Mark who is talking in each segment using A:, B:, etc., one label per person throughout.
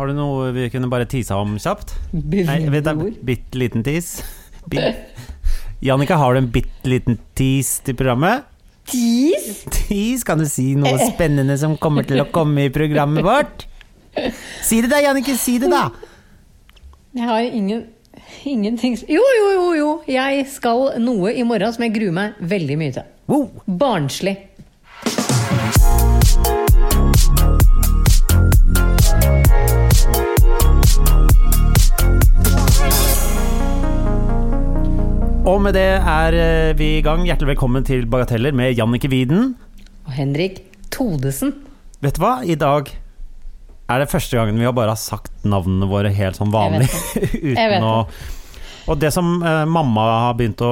A: Har du noe vi kunne bare tisa om kjapt? Nei, vent da,
B: Billedord.
A: bitte liten tis. Bi- Jannika, har du en bitte liten tis til programmet?
B: Tis?
A: Tis? Kan du si noe spennende som kommer til å komme i programmet vårt? Si det da, Jannicke, si det da!
B: Jeg har ingen, ingenting s- Jo, jo, jo, jo! Jeg skal noe i morgen som jeg gruer meg veldig mye til.
A: Wow.
B: Barnslig.
A: Og med det er eh, vi i gang. Hjertelig velkommen til Bagateller med Jannicke Widen.
B: Og Henrik Todesen.
A: Vet du hva? I dag er det første gangen vi har bare har sagt navnene våre helt sånn vanlig.
B: Jeg vet
A: Uten å Og det som eh, mamma har begynt å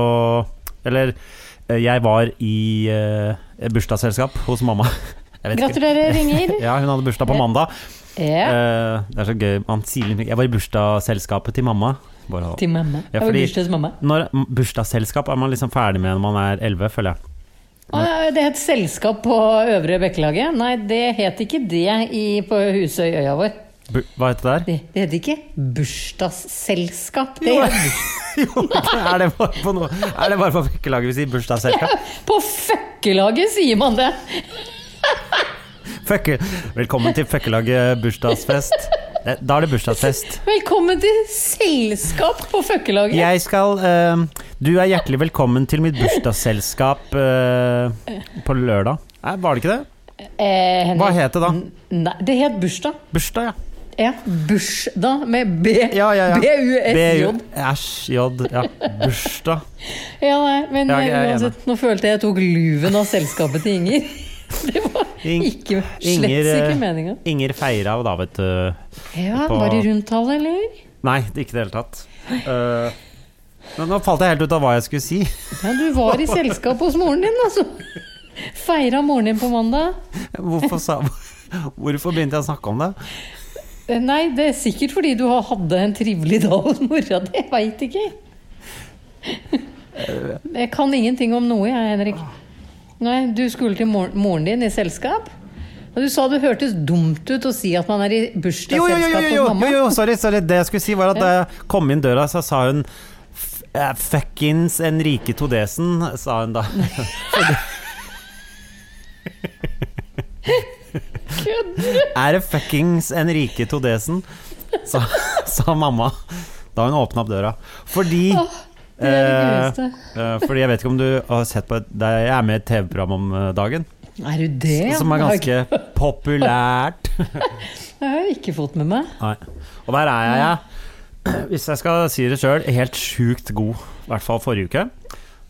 A: Eller eh, jeg var i eh, et bursdagsselskap hos mamma. Jeg vet ikke.
B: Gratulerer, ringer.
A: Ja, hun hadde bursdag på mandag.
B: Ja.
A: Eh, det er så gøy. Man sier litt mye. Jeg var i bursdagsselskapet til mamma. Bare,
B: Til mamma.
A: Ja,
B: Jeg var
A: fordi-
B: bursdag hos mamma.
A: når bursdagsselskap er man liksom ferdig med når man er 11, føler jeg.
B: Å, ja, det het selskap på Øvre Bekkelaget. Nei, det het ikke det i, på Husøyøya vår.
A: Bu hva heter det der?
B: Det, det het ikke bursdagsselskap. Det het
A: Jo, er det bare på, noe? Er det bare på vekkelaget vi sier bursdagsselskap?
B: På fuckelaget sier man det!
A: Fucke. Velkommen til Føkkelaget bursdagsfest. Det- Da er det bursdagsfest.
B: Velkommen til selskap på fuckelaget.
A: Jeg skal eh, Du er hjertelig velkommen til mitt bursdagsselskap eh, på lørdag. Nei, var det ikke det?
B: Eh, Henrik.
A: Hva het det da?
B: Nei, det het bursdag.
A: Bursdag, ja.
B: Ja, bursdag med B.
A: Ja, ja, ja.
B: B-U-S-J.
A: Æsj, J. Ja. Bursdag.
B: Ja, nei, men
A: Ja, jeg er
B: eh, uansett, nå følte jeg jeg tok luven av selskapet til Inger. Det var
A: Ing-
B: ikke, slett
A: Inger, eh,
B: ikke meninga.
A: Inger Feirhaug, da, vet du.
B: Ja,
A: på-
B: var det rundtall, eller?
A: Nei, det er ikke i det hele tatt. Eh, nå- nå falt jeg helt ut av hva jeg skulle si.
B: Ja, du var i selskap hos moren din, altså. Feira moren din på mandag.
A: Hvorfor, sa, hvorfor begynte jeg å snakke om det?
B: Eh, Nei, det er sikkert fordi du har hadde en trivelig dag hos mora di. Jeg veit ikke.
A: Eh,
B: Jeg kan ingenting om noe, jeg, Henrik. Nei, Du skulle til mor moren din i selskap. Og du sa det hørtes dumt ut å si at man er i
A: Jo, jo, jo, jo, jo,
B: bursdagsselskap hos
A: jo,
B: mamma.
A: jo, sorry, sorry. Det jeg skulle si var at da jeg kom inn døra, så sa hun "F- eh, Fuckings Enrique Todesen, sa hun da.
B: Kødder du?
A: Er det fuckings Enrique Todesen? Sa, sa mamma da hun åpna opp døra. Fordi
B: Det er det
A: eh,
B: gøyeste.
A: eh, Fordi jeg vet ikke om du har sett på et, det- Jeg er med i et TV-program om eh, dagen
B: Er du det? ja?
A: som er ganske populært.
B: Det har jeg ikke fått med meg.
A: Nei. Og der er jeg, hvis jeg skal si det sjøl, helt sjukt god. I hvert fall forrige uke.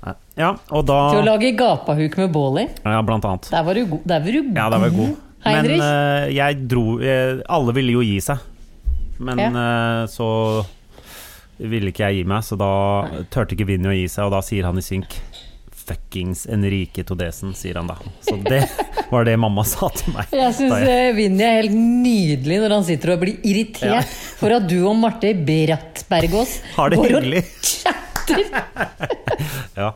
A: Nei. Ja, og da
B: Til å lage gapahuk med bål i.
A: Ja, blant annet.
B: Der var du god. Der var du god.
A: Ja, det var god.
B: Mhm.
A: Men
B: Heinrich?
A: eh, jeg dro eh, Alle ville jo gi seg. Men eh, så ville ikke jeg gi meg, så da turte ikke Vinny å gi seg, og da sier han i synk Fuckings Enrique Todesen, sier han da. Så det var det mamma sa til meg.
B: Jeg syns
A: Da jeg-
B: Vinni er helt nydelig når han sitter og blir irritert
A: Ja.
B: for at du og Marte Bratt Bergås
A: Har det
B: går og
A: hyggelig.
B: chatter.
A: Ja.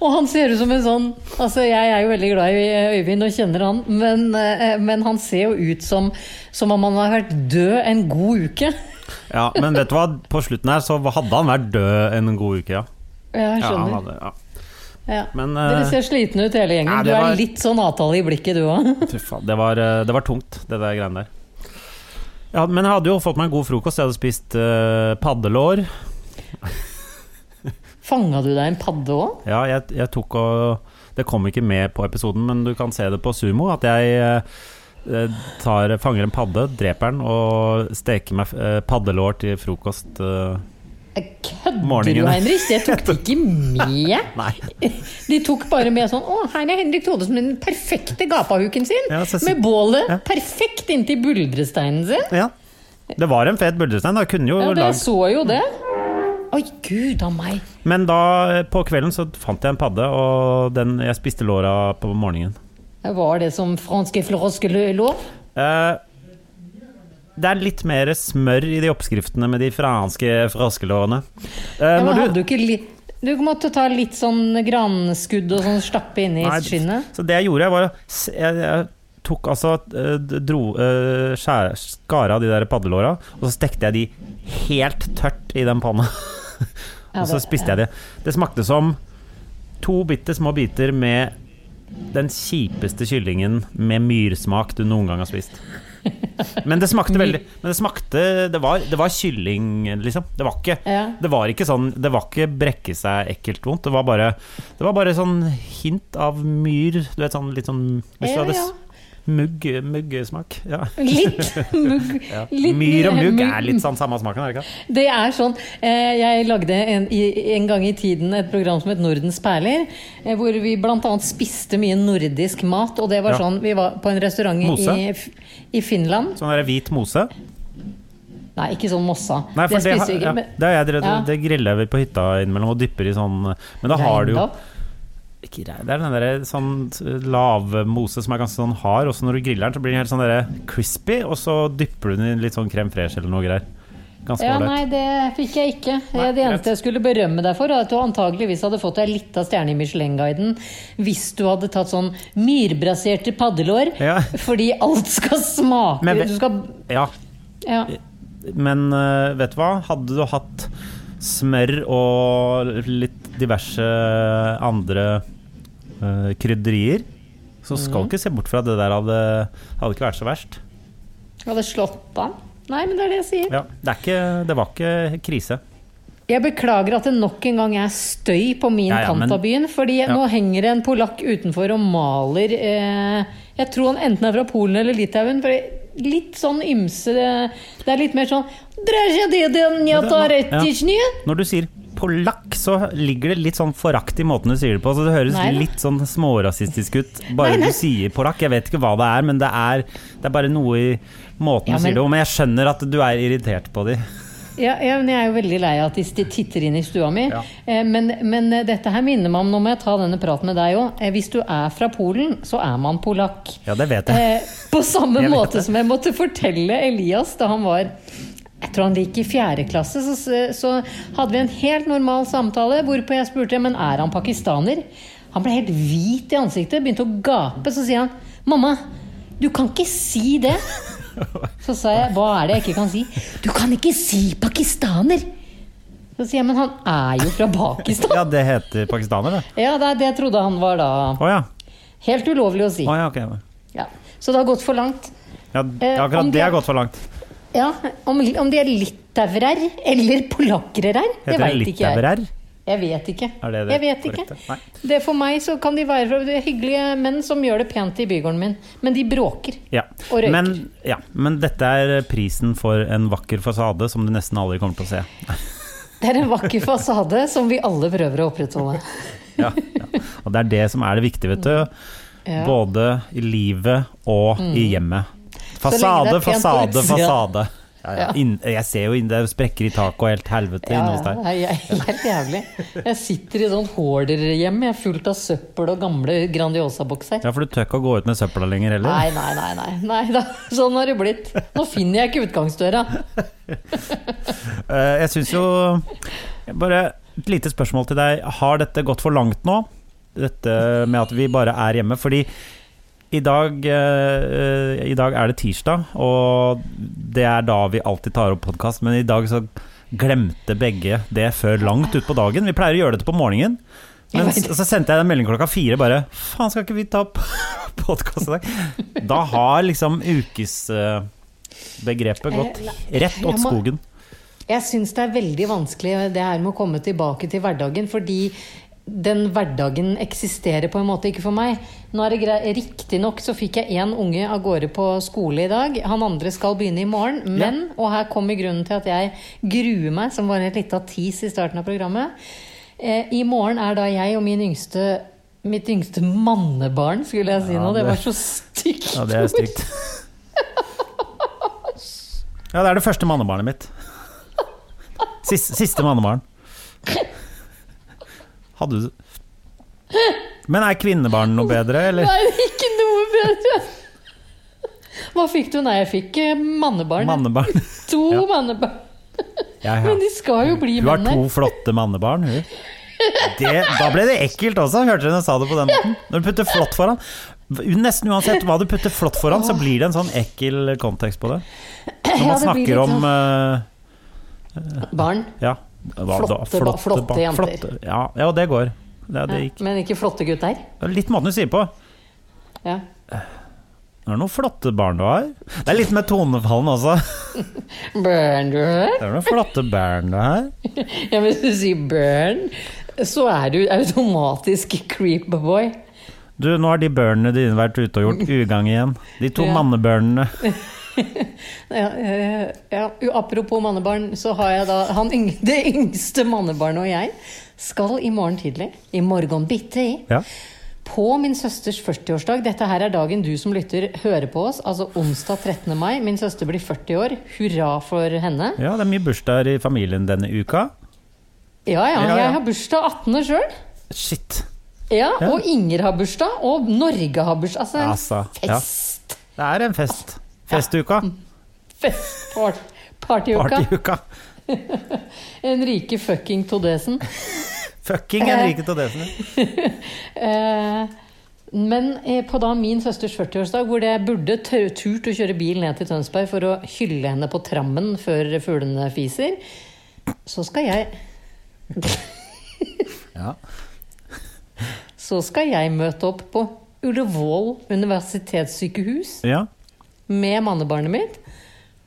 B: Og han ser ut som en sånn Altså, jeg er jo veldig glad i eh, Øyvind og kjenner han, men, eh, men han ser jo ut som, som om han har vært død en god uke.
A: ja, men vet du hva, på slutten her så hadde han vært død en god uke, ja.
B: Ja, jeg
A: ja, han
B: skjønner.
A: hadde, ja.
B: Ja.
A: Men
B: Dere
A: eh,
B: ser slitne ut hele gjengen.
A: Nei,
B: Du
A: det
B: er
A: var-
B: litt sånn avtale i blikket, du òg.
A: Fy faen, det var, eh, det var tungt, det der greiene der. Ja, men jeg hadde jo fått meg en god frokost. Jeg hadde spist eh, paddelår.
B: Fanga du deg en padde òg?
A: Ja, jeg, jeg tok og Det kom ikke med på episoden, men du kan se det på sumo. At jeg eh, tar, fanger en padde, dreper den og steker meg eh, paddelår til frokost eh,
B: Kødder du,
A: Morgenene.
B: Heinrich? Det tok de ikke med.
A: Nei.
B: De tok bare med sånn Å, her er Henrik Thodesen med den perfekte gapahuken sin.
A: Ja, så-
B: med bålet
A: Ja.
B: perfekt inntil buldresteinen sin.
A: Ja. Det var en fet buldrestein. da, Kunne jo
B: Ja, det
A: lagd
B: så jo det. Oi, gud a meg.
A: Men da, eh, på kvelden så fant jeg en padde, og den, jeg spiste låra på morgenen.
B: Det var det som franske floroske lå.
A: Eh, det er litt mer smør i de oppskriftene med de franske froskelårene. Eh,
B: Ja, men
A: når
B: hadde
A: du-
B: du ikke li Du måtte ta litt sånn granskudd og sånn stappe inni
A: Nei,
B: skinnet.
A: Så det jeg gjorde, jeg var å s- Jeg, jeg tok altså eh, d- dro, eh, skjær, Skar av de der paddelåra, og så stekte jeg de helt tørt i den panna.
B: Ja,
A: og så
B: det-
A: spiste jeg de. Det smakte som to bitte små biter med den kjipeste kyllingen med myrsmak du noen gang har spist. Men det smakte veldig Men det smakte Det var, det var kylling, liksom. Det var ikke
B: Ja.
A: det var ikke sånn Det var ikke brekke seg ekkelt vondt. Det var bare, det var bare sånn hint av myr. Du vet sånn litt sånn Hvis du
B: Ja,
A: hadde
B: ja.
A: s- mugg, muggsmak. Ja.
B: Litt mugg. litt-
A: myr og mugg er litt sånn samme smaken, er det ikke?
B: Det er sånn eh, Jeg lagde en, i- en gang i tiden et program som het Nordens perler, eh, hvor vi bl.a. spiste mye nordisk mat. Og det var
A: Ja.
B: sånn Vi var på en restaurant
A: Mose?
B: i, i Finland.
A: Sånn der hvit mose.
B: Nei, ikke sånn mossa.
A: Nei, for
B: det
A: det, har-
B: spiste
A: ja,
B: vi ikke. men-
A: det, har jeg drevet-
B: Ja.
A: det griller vi på hytta innimellom og dypper i sånn Men da har du jo
B: Reindop.
A: ikke rein, Det er den derre sånn lavmose som er ganske sånn hard, og så når du griller den, så blir den helt sånn derre crispy, og så dypper du den i litt sånn krem fresh eller noe greier. Ganske
B: Ja,
A: ålreit.
B: nei, det fikk jeg ikke.
A: Nei,
B: det
A: greit.
B: eneste jeg skulle berømme deg for, er at du antageligvis hadde fått deg litt av stjerne i Michelin-guiden hvis du hadde tatt sånn myrbraserte paddelår,
A: Ja.
B: fordi alt skal smake
A: Men ve-
B: Du skal
A: Ja,
B: Ja.
A: men eh, vet du hva? Hadde du hatt smør og litt diverse andre eh, krydderier, så
B: Mm.
A: skal du ikke se bort fra at det der hadde, hadde ikke vært så verst.
B: Du hadde slått an. Nei, men det er det jeg sier.
A: Ja, det, er ikke, det var ikke krise.
B: Jeg beklager at det nok en gang er støy på min
A: Ja, ja,
B: kant
A: men-
B: av byen. Fordi
A: Ja.
B: nå henger det en polakk utenfor og maler eh, Jeg tror han enten er fra Polen eller Litauen. For litt sånn ymse Det er litt mer sånn
A: Ja. Når du sier polakk, så ligger det litt sånn forakt i måten du sier det på. Så det høres
B: Nei da.
A: litt sånn smårasistisk ut bare
B: Nei, nei.
A: du sier polakk. Jeg vet ikke hva det er, men det er, det er bare noe i måten
B: Ja,
A: du
B: men-
A: sier det på. Men jeg skjønner at du er irritert på de.
B: Ja, ja, men jeg er jo veldig lei av at de sti- titter inn i stua mi.
A: Ja.
B: Eh, Men, men eh, dette her minner meg om Nå må jeg ta denne praten med deg òg. Hvis du er fra Polen, så er man polakk.
A: Ja, det vet jeg.
B: Eh, på samme
A: Jeg vet
B: måte
A: det.
B: som jeg måtte fortelle Elias da han var jeg tror han gikk i fjerde klasse, så, så hadde vi en helt normal samtale. Hvorpå jeg spurte men er han pakistaner. Han ble helt hvit i ansiktet, begynte å gape. Så sier han 'mamma, du kan ikke si det'. Så sa jeg 'hva er det jeg ikke kan si'? 'Du kan ikke si pakistaner'. Så sier jeg 'men han er jo fra Pakistan'.
A: Ja, det heter pakistaner, det.
B: Ja, det, det trodde han var da
A: Å ja.
B: helt ulovlig å si.
A: Å ja, ok.
B: Ja. Så det har gått for langt.
A: Ja,
B: Eh, om
A: akkurat
B: de
A: det
B: er-
A: har gått for langt.
B: Ja, om, om de er litauerer eller polakkerer her, det
A: Heter det
B: veit ikke jeg.
A: litauerer?
B: Jeg vet ikke.
A: Er det det
B: jeg vet ikke.
A: korrekte? Nei.
B: Det For meg så kan de være fra det er hyggelige menn som gjør det pent i bygården min, men de bråker.
A: Ja.
B: Og røyker.
A: Men, ja. men dette er prisen for en vakker fasade som du nesten aldri kommer til å se.
B: Det er en vakker fasade som vi alle prøver å opprettholde.
A: ja, ja. Og det er det som er det viktige, vet du.
B: Mm. Ja. Mm.
A: Både i livet og i hjemmet.
B: lenge det er
A: Fasade,
B: pent på
A: fasade,
B: utsida.
A: fasade. Ja, ja.
B: Ja.
A: Inn, jeg ser jo inn, det er jo sprekker i taket og helt helvete
B: Ja,
A: inne hos
B: ja,
A: deg.
B: nei, jeg, helt jævlig. Jeg sitter i sånn hoarderhjem, jeg er fullt av søppel og gamle Grandiosa-bokser.
A: Ja, for du tør ikke å gå ut med søpla lenger heller.
B: Nei, nei, nei. nei, nei da, sånn har det blitt. Nå finner jeg ikke utgangsdøra.
A: Eh, Jeg syns jo Bare et lite spørsmål til deg. Har dette gått for langt nå? Dette med at vi bare er hjemme? Fordi i dag, eh, I dag er det tirsdag, og det er da vi alltid tar opp podkast. Men i dag så glemte begge det før langt utpå dagen. Vi pleier å gjøre dette på morgenen. Men
B: Jeg vet.
A: så så sendte jeg en melding klokka fire bare Faen, skal ikke vi ta opp podkast i dag? Da har liksom ukesbegrepet gått rett
B: Eh, jeg
A: åt
B: må-
A: skogen.
B: Jeg syns det er veldig vanskelig det her med å komme tilbake til hverdagen, fordi den hverdagen eksisterer på en måte ikke for meg. Nå er det grei- Riktignok så fikk jeg én unge av gårde på skole i dag. Han andre skal begynne i morgen. Men, og her kommer grunnen til at jeg gruer meg, som var en lita tis i starten av programmet. Eh, I morgen er da jeg og min yngste Mitt yngste mannebarn, skulle jeg si
A: Ja,
B: nå. Det
A: det-
B: var så stygt.
A: Ja, det er stygt. Ja, det er det første mannebarnet mitt. Siste, siste mannebarn. Hadde du Men er kvinnebarn noe bedre, eller?
B: Nei, ikke noe bedre. Hva fikk du? Nei, jeg fikk eh, mannebarn.
A: Mannebarn.
B: To
A: Ja.
B: mannebarn.
A: Ja, ja.
B: Men de skal jo bli
A: Hun har
B: menn her.
A: to flotte mannebarn, hun. Det, da ble det ekkelt også, hørte dere hun sa det på den måten. Når du putter flott foran Nesten uansett hva du putter flott foran, så blir det en sånn ekkel kontekst på det. Når man
B: Ja, det blir
A: snakker
B: litt sånn
A: om eh,
B: Barn.
A: Ja. Hva
B: Flotte
A: da?
B: ba- flotte
A: ba-
B: jenter.
A: flotte- ja, ja, det går. Det, det gikk.
B: Men ikke flotte gutter.
A: Det er Litt måten du sier på.
B: Ja.
A: Det er noen flotte barn du har. Det er litt med tonefallen også.
B: Børn, du hører?
A: Det er noen flotte barn du har.
B: Ja, hvis du sier børn, så er du automatisk creepboy.
A: Du, nå har de børnene dine vært ute og gjort ugagn igjen. De to
B: Ja.
A: mannebørnene.
B: Ja, eh, ja, u- apropos mannebarn, så har jeg da han yng, det yngste mannebarnet og jeg skal i morgen tidlig, i morgen bitte i,
A: Ja.
B: På min søsters 40-årsdag, dette her er dagen du som lytter hører på oss, altså onsdag 13. mai, min søster blir 40 år, hurra for henne.
A: ja, det er mye bursdager i familien denne uka.
B: Ja ja,
A: Ja, ja.
B: jeg har bursdag 18. sjøl.
A: Shit.
B: Ja,
A: Ja.
B: og Inger har bursdag, og Norge har bursdag. Altså, en
A: Altså, ja.
B: fest!
A: Det er en fest. Festuka.
B: Mm. Fest! Part, partyuka.
A: Partyuka.
B: En rike fucking todesen.
A: Fucking Henrike Todesen.
B: Eh, men eh, på da min søsters 40-årsdag, hvor jeg burde tør- turt å kjøre bil ned til Tønsberg for å hylle henne på trammen før fuglene fiser, så skal jeg
A: Ja.
B: Så skal jeg møte opp på Ullevål universitetssykehus
A: ja.
B: med mannebarnet mitt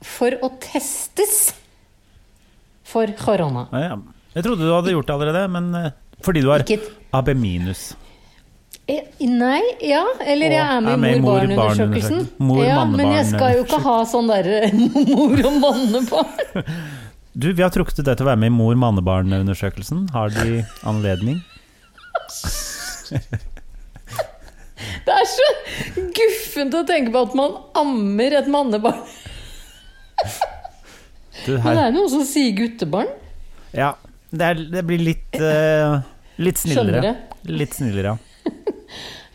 B: for å testes for korona.
A: Ja, ja. Jeg trodde du hadde gjort det allerede, men eh, fordi du har
B: Ikke et-
A: AB minus.
B: Eh, Nei, ja. Eller jeg
A: Og
B: er med i mor-barn-undersøkelsen.
A: mor-barn-undersøkelsen. Mor-
B: ja, men jeg skal jo ikke ha sånn derre mor- og mannebarn.
A: Du, vi har trukket ut deg til å være med i mor-mannebarn-undersøkelsen. Har de anledning?
B: Det er så guffent å tenke på at man ammer et mannebarn.
A: Du,
B: Men det
A: her.
B: er noen som sier guttebarn.
A: Ja, det, er, det blir litt eh, Litt snillere.
B: Skjønnere.
A: Litt snillere, ja.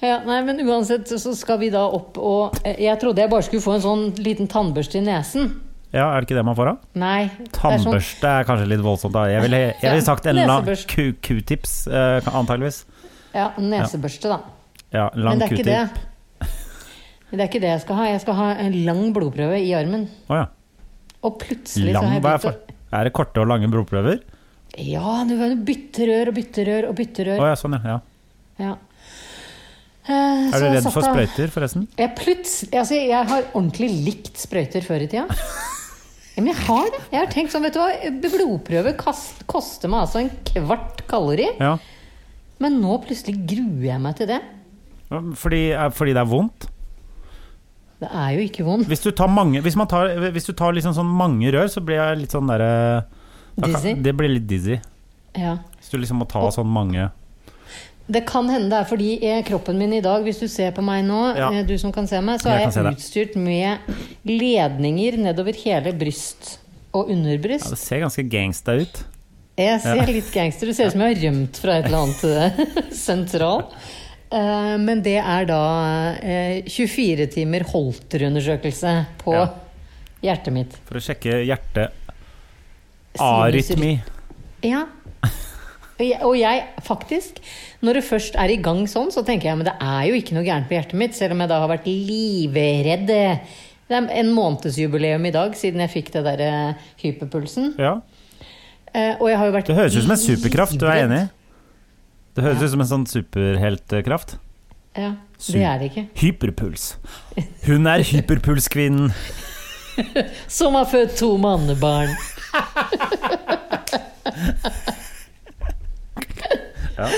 B: Ja, nei, men uansett så skal vi da opp og eh, Jeg trodde jeg bare skulle få en sånn liten tannbørste i nesen.
A: Ja, Er det ikke det man får av?
B: Nei. det er sånn-
A: Tannbørste er kanskje litt voldsomt. da Jeg ville jeg ville sagt en lang
B: Nesebørste.
A: ku- q-tips, eh, antageligvis.
B: Ja, nesebørste, da.
A: Ja,
B: Men
A: lang
B: det er ikke
A: q-tip.
B: det. Det er ikke det jeg skal ha. Jeg skal ha en lang blodprøve i armen.
A: Å ja.
B: Og plutselig så
A: Lang,
B: har jeg
A: hva er
B: begynt å
A: for? Er det korte og lange blodprøver?
B: Ja, du kan jo bytte rør og bytte rør og bytte
A: Å
B: rør.
A: ja, sånn, ja. ja.
B: Ja. Eh, så
A: Er du
B: jeg
A: redd
B: satt
A: for
B: da-
A: sprøyter, forresten?
B: Jeg, plutselig, altså, jeg har ordentlig likt sprøyter før i tida. Ja, Men jeg har det. Jeg har tenkt sånn, vet du hva. Blodprøve kast, koster meg altså en kvart kalori.
A: Ja.
B: Men nå plutselig gruer jeg meg til det.
A: Fordi, er- fordi det er vondt?
B: Det er jo ikke vondt.
A: Hvis du tar mange, hvis man tar, hvis du tar liksom sånn mange rør, så blir jeg litt sånn derre da kan-
B: Dizzy?
A: Det blir litt dizzy.
B: Ja.
A: Hvis du liksom må ta sånn mange
B: Det kan hende det er fordi eh, kroppen min i dag, hvis du ser på meg nå,
A: Ja.
B: eh, du som kan se meg, så
A: Jeg
B: er
A: kan se
B: jeg
A: deg.
B: utstyrt med ledninger nedover hele bryst og
A: ja,
B: underbryst.
A: Det ser ganske gangsta ut.
B: Jeg ser
A: Ja.
B: litt gangster Det ser ut som jeg har rømt fra et eller annet eh, sentral. Eh, Men det er da eh, 24 timer Holter-undersøkelse på
A: Ja.
B: hjertet mitt.
A: For å sjekke hjerte Arytmi.
B: Ja. Og jeg- Og jeg, faktisk, når det først er i gang sånn, så tenker jeg men det er jo ikke noe gærent på hjertet mitt, selv om jeg da har vært livredd. Det er en månedsjubileum i dag siden jeg fikk det der eh, hyperpulsen.
A: Ja.
B: Eh, Og jeg har jo vært
A: Det høres ut som en superkraft, du er
B: livredd.
A: enig? Det høres ut som en sånn superheltkraft.
B: Ja,
A: Super-
B: det er det ikke.
A: Hyperpuls. Hun er hyperpulskvinnen.
B: Som har født to mannebarn.
A: Ja.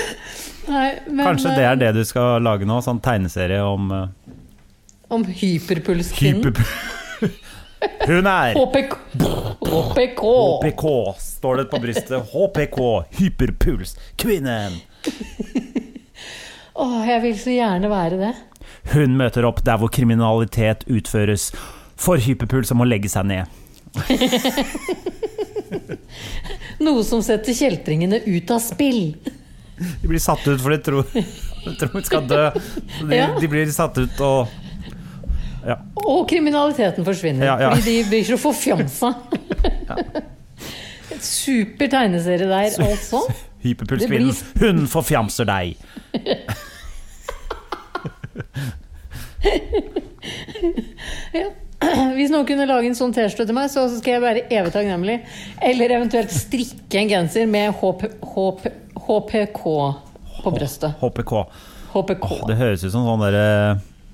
B: Nei, men, eh,
A: Kanskje det er det du skal lage nå? Sånn tegneserie om uh,
B: Om hyperpulskvinnen.
A: hyper... Hun er
B: HPK. HPK.
A: HPK, står det på brystet. HPK, hyperpuls, kvinnen.
B: Åh, jeg vil så gjerne være det.
A: Hun møter opp der hvor kriminalitet utføres. For hyperpuls som må legge seg ned.
B: Noe som setter kjeltringene ut av spill.
A: De blir satt ut for de tror, de tror de skal dø. Så De,
B: Ja.
A: de blir satt ut og
B: Og kriminaliteten forsvinner.
A: Ja, ja.
B: Fordi de blir så forfjamsa. Et Super tegneserie der, altså.
A: Hyperpulskvinnen. Hun forfjamser deg.
B: Ja. Hvis noen kunne lage en sånn T-skjorte til meg, så skal jeg være evig takknemlig. Eller eventuelt strikke en genser med HP, HPK på brøstet.
A: HPK.
B: HPK.
A: Det høres ut som sånn derre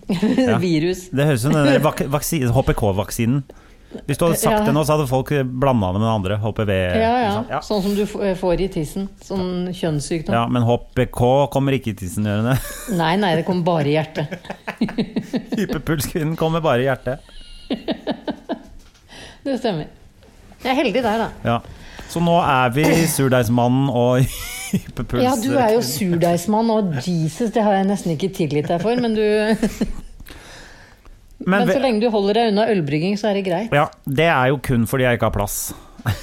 A: ja.
B: Virus.
A: Det høres ut som den der vak- vaksi- HPK-vaksinen. Hvis du hadde sagt
B: Ja.
A: det nå, så hadde folk blanda det med den andre. HPV.
B: Ja,
A: ikke sant?
B: ja. Sånn som du f- får i tissen. Sånn kjønnssykdom.
A: Ja, men HPK kommer ikke i tissen, gjør den det?
B: Nei, nei, det kommer bare i hjertet.
A: Hyperpulskvinnen kommer bare i hjertet.
B: Det stemmer. Jeg er heldig der, da.
A: Ja. Så nå er vi surdeigsmannen og hyperpuls...
B: Ja, du er jo surdeigsmann, og Jesus, det har jeg nesten ikke tilgitt deg for, men du Men så
A: ve-
B: lenge du holder deg unna ølbrygging, så er det greit.
A: ja, det er jo kun fordi jeg ikke har plass.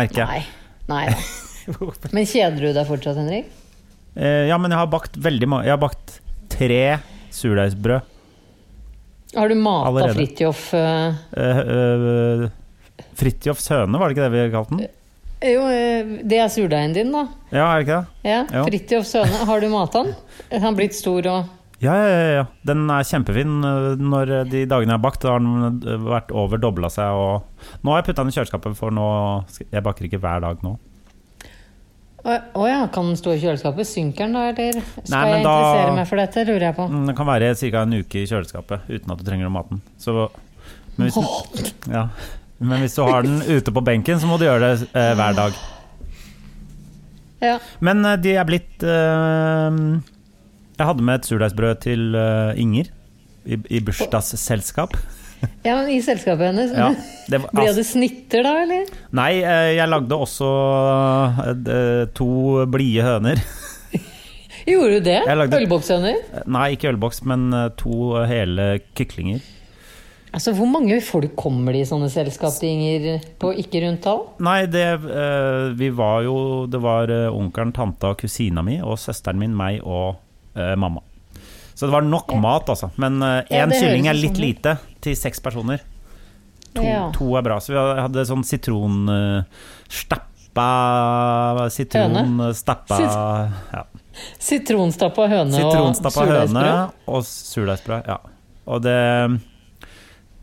A: Merker jeg.
B: Nei. Nei da. Men kjeder du deg fortsatt, Henrik?
A: Eh, Ja, men jeg har bakt veldig mange Jeg har bakt tre surdeigsbrød.
B: Har du mata
A: Allerede.
B: Fridtjof eh,
A: Eh, eh, Fridtjofs høne, var det ikke det vi kalte den?
B: Jo, eh, det er surdeigen din, da.
A: Ja, er det ikke det?
B: Ja,
A: Ja.
B: Fridtjof Søne. Har du mata han? Er han blitt stor og
A: Ja, ja, ja, ja. Den er kjempefin. eh, Når eh, de dagene jeg har bakt, da har den eh, vært over dobla seg. Og nå har jeg putta den i kjøleskapet, for nå skal- Jeg baker ikke hver dag nå.
B: Å å ja, kan den stå i kjøleskapet? Synker den da, eller? Skal
A: Nei, men
B: jeg
A: da-
B: interessere meg for dette, lurer jeg på.
A: Mm, Den kan være ca. en uke i kjøleskapet uten at du trenger å mate den. Så, men, hvis
B: Åh,
A: den ja. men hvis du har den ute på benken, så må du gjøre det eh, hver dag.
B: Ja.
A: Men eh, de er blitt eh, Jeg hadde med et surdeigsbrød til eh, Inger i, i bursdagsselskap.
B: ja, men i selskapet hennes
A: Ja, det var-
B: Ble det snitter da, eller?
A: Nei, eh, jeg lagde også eh, d- to blide høner.
B: Gjorde du det?
A: Jeg lagde-
B: Ølbokshøner?
A: Nei, ikke ølboks, men eh, to hele kyklinger.
B: Altså, hvor mange folk kommer det i sånne selskap, Inger, på ikke rundt tall?
A: Nei, det eh, Vi var jo Det var eh, onkelen, tanta og kusina mi og søsteren min, meg og eh, mamma. Så det var nok mat, altså. Men eh,
B: Ja,
A: én
B: det
A: kylling
B: høres
A: er
B: jo
A: litt
B: sånn ut.
A: lite til seks personer. To,
B: Ja.
A: to er bra. Så vi hadde sånn sitron... Uh, stappa Sitron eh,
B: Høne.
A: stappa
B: Sit-
A: ja.
B: Sitronstappa høne
A: Sitronstappa
B: og
A: høne
B: surdeigsbrød?
A: og surdeigsbrød. Ja. Og det,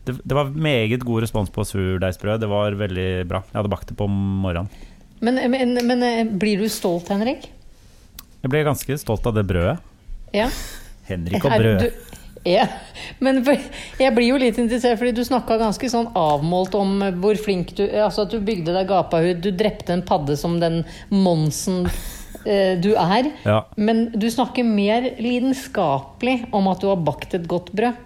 A: det Det var meget god respons på surdeigsbrød. Det var veldig bra. Jeg hadde bakt det på morgenen.
B: Men, men, men eh, blir du stolt, Henrik?
A: Jeg ble ganske stolt av det brødet.
B: Ja.
A: Henrik og
B: Er
A: brød.
B: du- Ja, men for- jeg blir jo litt interessert, fordi du snakka ganske sånn avmålt om hvor flink du Altså at du bygde deg gapahud, du drepte en padde som den Monsen eh, du er.
A: Ja.
B: Men du snakker mer lidenskapelig om at du har bakt et godt brød.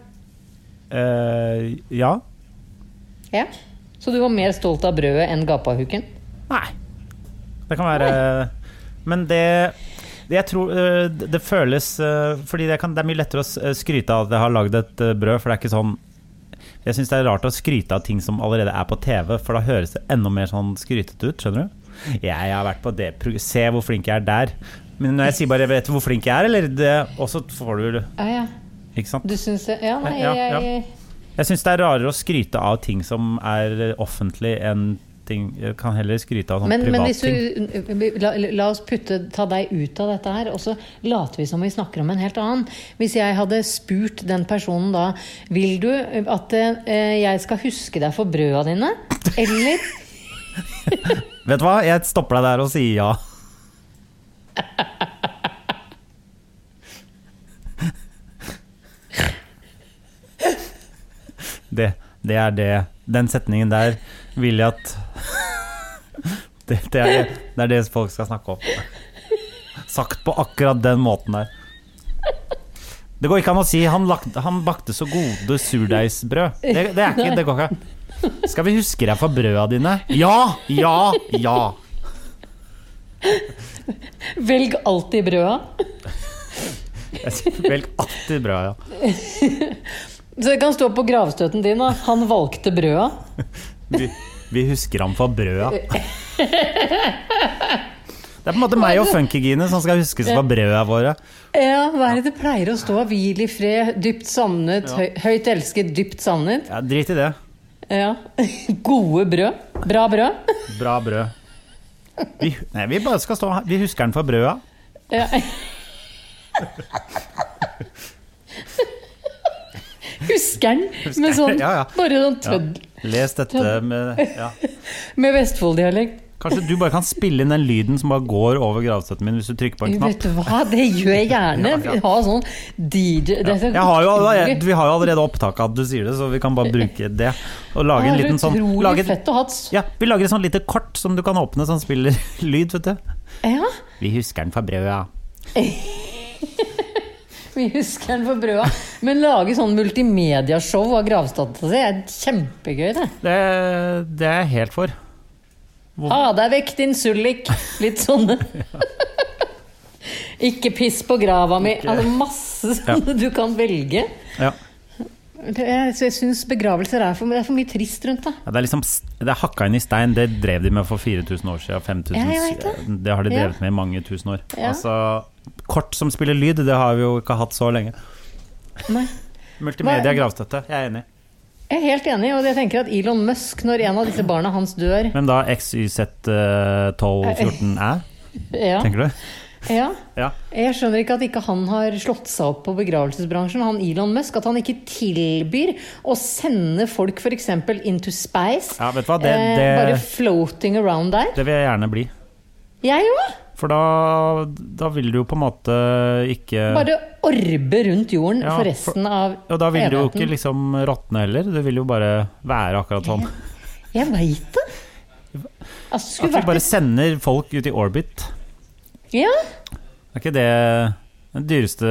A: Eh, ja.
B: Ja? Så du var mer stolt av brødet enn gapahuken?
A: Nei. Det kan være Men det det jeg tror, eh, det det føles eh, Fordi det, kan, det er mye lettere å s- eh, skryte av at jeg har lagd et eh, brød, for det er ikke sånn Jeg syns det er rart å skryte av ting som allerede er på TV, for da høres det enda mer sånn skrytete ut, skjønner du? Jeg har vært på det pro- Se hvor flink jeg er der. Men når jeg sier bare 'vet du hvor flink jeg er', eller det Og så får du
B: Ja, ja.
A: Ikke sant?
B: Du syns det? Ja, nei,
A: Ja,
B: jeg,
A: ja.
B: jeg
A: Jeg syns det er rarere å skryte av ting som er offentlig, enn ting Jeg kan heller skryte av sånn
B: Men, men hvis
A: privatting.
B: du, la, la oss putte, ta deg ut av dette her, og så later vi som vi snakker om en helt annen. Hvis jeg hadde spurt den personen da Vil du at eh, jeg skal huske deg for brøda dine? Eller
A: Vet du hva, jeg stopper deg der og sier ja. Det, det er det. Den setningen der vil jeg at det, det, er det, det er det folk skal snakke om. Sagt på akkurat den måten der. Det går ikke an å si han, lagde, han bakte så gode surdeigsbrød. Det, det, er ikke, det går ikke. Skal vi huske deg for brøda dine? Ja! Ja! Ja!
B: Velg alltid brøda.
A: Velg alltid brøda, ja.
B: Så det kan stå på gravstøten din, da. Han valgte brøda.
A: Vi, vi husker ham for brøda. Det er på en måte meg og Funkygine som skal huskes for brøda våre.
B: Ja, hva er det det pleier å stå? Hvil i fred, dypt savnet, høy- høyt elsket, dypt savnet.
A: Ja, drit i det.
B: Ja. Gode brød. Bra brød.
A: Bra brød. Vi, nei, vi bare skal stå her. Vi husker den for brøda.
B: Ja. Husker den med sånn,
A: Ja, ja.
B: bare sånn tødd,
A: Les dette med ja.
B: med Vestfold-dialekt.
A: Kanskje du bare kan spille inn den lyden som bare går over gravstøtten min hvis du trykker på en knapp.
B: Vet du hva, det gjør jeg gjerne.
A: Ja, ja.
B: Ha sånn DJ det er så
A: Jeg har jo,
B: utrolig-
A: vi har jo allerede opptak av at du sier det, så vi kan bare bruke det. Og lage en
B: Det er
A: liten sånn
B: utrolig
A: lage,
B: fett å ha et s-
A: ja, Vi lager et sånn lite kort som du kan åpne, som spiller lyd, vet du.
B: Ja,
A: Vi husker den for brøda.
B: vi husker den for brøda. Men lage sånn multimediashow av gravstøtta si er kjempegøy, det.
A: Det, det er jeg helt for.
B: Ha deg Ah, vekk, din sullik. Litt sånne. Ikke piss på grava mi. Altså masse sånne du kan velge.
A: Ja.
B: Det er- Så jeg syns begravelser er for, det er for mye trist rundt det.
A: Ja, det, er liksom, s- det er hakka inn i stein, det drev de med for 4000 år siden. 5000,
B: Ja, jeg vet
A: det. har de
B: Ja.
A: drevet med i mange tusen år.
B: Ja.
A: Altså, kort som spiller lyd, det har vi jo ikke hatt så lenge.
B: Nei.
A: Multimedia gravstøtte, jeg er enig.
B: Jeg er helt enig, og jeg tenker at Elon Musk, når en av disse barna hans dør
A: Hvem da eh, XYZ1214 er,
B: eh, ja,
A: tenker du?
B: ja,
A: Ja.
B: Jeg skjønner ikke at ikke han har slått seg opp på begravelsesbransjen, han Elon Musk. At han ikke tilbyr å sende folk f.eks. into space.
A: Ja, vet du hva, det,
B: eh, bare
A: det,
B: floating around der.
A: det vil jeg gjerne bli.
B: Jeg jo!
A: For da, da vil du jo på en måte ikke
B: Bare orbe rundt jorden
A: Ja,
B: for
A: for-
B: resten av
A: Og da vil du jo ikke
B: evigheten.
A: liksom råtne heller, du vil jo bare være akkurat sånn.
B: Jeg veit det! Altså,
A: At
B: skulle
A: vi
B: vært
A: bare sender folk ut i orbit.
B: Ja!
A: Er ikke det den dyreste,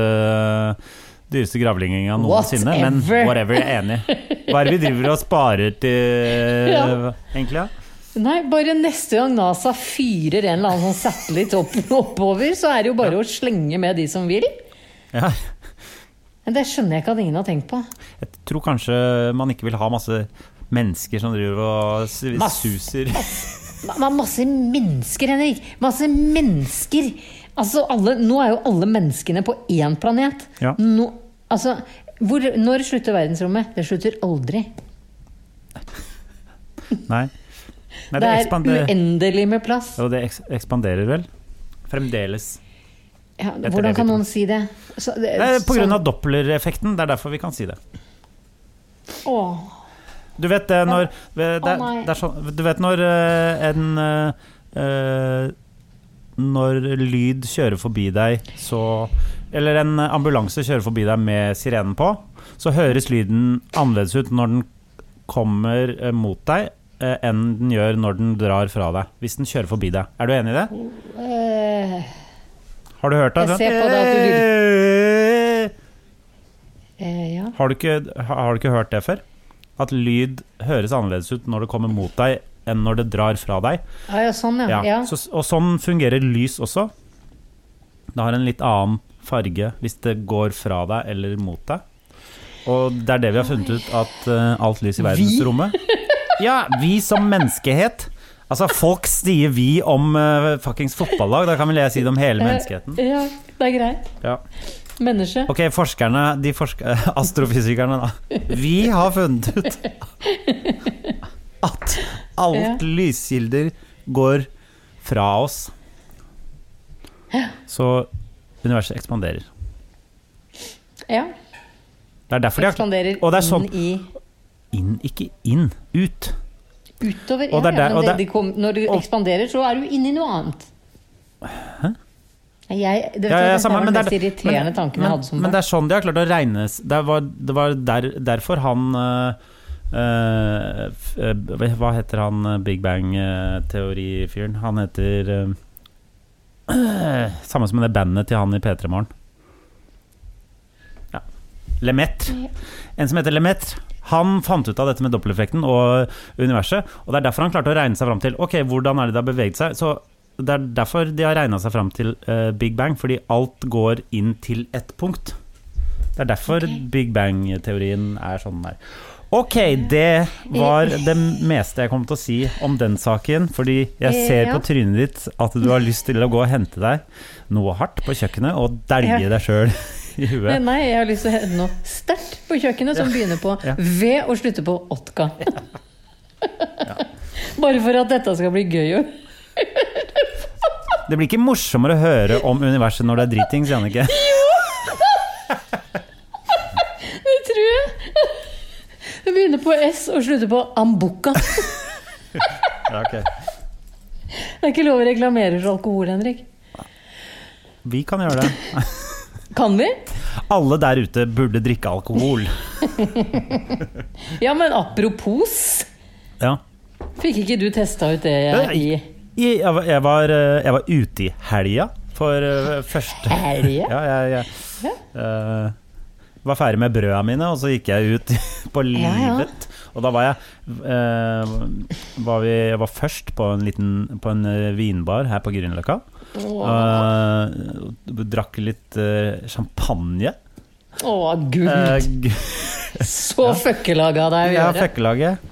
A: dyreste gravlegginga noensinne?
B: Whatever.
A: Men whatever, jeg er enig. Hva er det vi driver og sparer til,
B: Ja.
A: egentlig? da?
B: Nei, bare neste gang NASA fyrer en eller annen sånn satellitt opp, oppover, så er det jo bare å slenge med de som vil.
A: Ja.
B: Men det skjønner jeg ikke at ingen har tenkt på.
A: Jeg tror kanskje man ikke vil ha masse mennesker som driver og s-
B: Mass-
A: suser.
B: Ma- ma- masse mennesker, Henrik! Masse mennesker! Altså, alle, nå er jo alle menneskene på én planet.
A: Ja.
B: Nå, altså, hvor, når slutter verdensrommet? Det slutter aldri.
A: Nei. Nei
B: Det
A: det,
B: er
A: ekspander,
B: uendelig med plass.
A: jo, det eks ekspanderer vel? Fremdeles.
B: Ja,
A: det
B: hvordan kan
A: vet
B: noen si det? Så, det
A: Det er på grunn
B: sånn-
A: av dopplereffekten, det er derfor vi kan si det.
B: sånn- Åh,
A: Du vet det når det, det,
B: nei.
A: det er sånn, Du vet når eh, en eh, eh, Når lyd kjører forbi deg, så Eller en ambulanse kjører forbi deg med sirenen på, så høres lyden annerledes ut når den kommer eh, mot deg, eh, enn den gjør når den drar fra deg. Hvis den kjører forbi deg. Er du enig i det?
B: eh,
A: Har du hørt det?
B: Mm. Jeg ser på det at du eh, ja.
A: Har du, ikke, har du ikke hørt det før? At lyd høres annerledes ut når det kommer mot deg, enn når det drar fra deg.
B: Ah, ja, sånn ja.
A: Ja.
B: ja.
A: Så, og sånn fungerer lys også. Det har en litt annen farge hvis det går fra deg eller mot deg. Og det er det vi har funnet ut, at eh, alt lys i verdensrommet Ja, vi som menneskehet. Altså, folk sier vi om uh, fuckings fotballag, da kan vel jeg si det om hele menneskeheten.
B: Eh, ja, det er greit.
A: Ja.
B: Menneske.
A: Ok, forskerne, de forsk astrofysikerne da Vi har funnet ut At
B: Ja.
A: alt lyskilder går fra oss Så universet ekspanderer
B: Ja.
A: Det er derfor de har
B: Ekspanderer
A: og det er sånn-
B: inn i
A: Inn, ikke inn, ut
B: Utover. Ja,
A: Og det er der-
B: ja, men
A: og
B: det,
A: det-
B: de kom, når du
A: og-
B: ekspanderer, så er du inne i noe annet. Hæ? Jeg, det, vet
A: Ja,
B: du,
A: ja,
B: dette
A: samme,
B: var
A: men
B: den
A: det
B: mest
A: er-
B: irriterende
A: men-
B: tanken
A: men-
B: jeg hadde som
A: Men
B: barn.
A: det er sånn de har klart å regne s- Det var, det var der, derfor han eh, eh, f- eh, Hva heter han eh, Big Bang-teorifyren? Han heter eh, Samme som det bandet til han i P3 Morgen. Ja. Lemaitre. En som heter Lemaitre. Han fant ut av dette med dobbelteffekten og universet, og det er derfor han klarte å regne seg fram til Ok, hvordan er det det har beveget seg. Så Det er derfor de har regna seg fram til eh, Big Bang, fordi alt går inn til ett punkt. Det er derfor Big Bang-teorien er sånn den er. Ok, det var det meste jeg kom til å si om den saken. Fordi jeg ser
B: Ja.
A: på trynet ditt at du har lyst til å gå og hente deg noe hardt på kjøkkenet og dælje
B: Ja.
A: deg sjøl i
B: Nei,
A: huet.
B: nei, jeg har lyst til å hente noe sterkt på kjøkkenet som begynner på
A: Ja.
B: V og slutter på Otka. Bare for at dette skal bli gøy. jo.
A: Det blir ikke morsommere å høre om universet når det er dritings, Jannicke.
B: Det tror jeg. Det begynner på S og slutter på Ambuka.
A: Ja, ok.
B: Det er ikke lov å reklamere for alkohol, Henrik.
A: Vi kan gjøre det.
B: Kan vi?
A: Alle der ute burde drikke alkohol.
B: Ja, men apropos.
A: Ja.
B: Fikk ikke du testa ut det jeg, i
A: Jeg, jeg, var, jeg, var, eh, jeg var ute i helga for eh, første
B: helga?
A: Ja, jeg, jeg eh, var ferdig med brøda mine, og så gikk jeg ut på
B: Ja, ja.
A: livet. Og da var jeg eh, var vi, Jeg var først på en liten På en eh, vinbar her på Grünerløkka. Eh, og drakk litt eh, champagne.
B: Å, gud.
A: Eh, g-
B: Så fuckelaga av deg å
A: ja,
B: gjøre.
A: fuckelaget.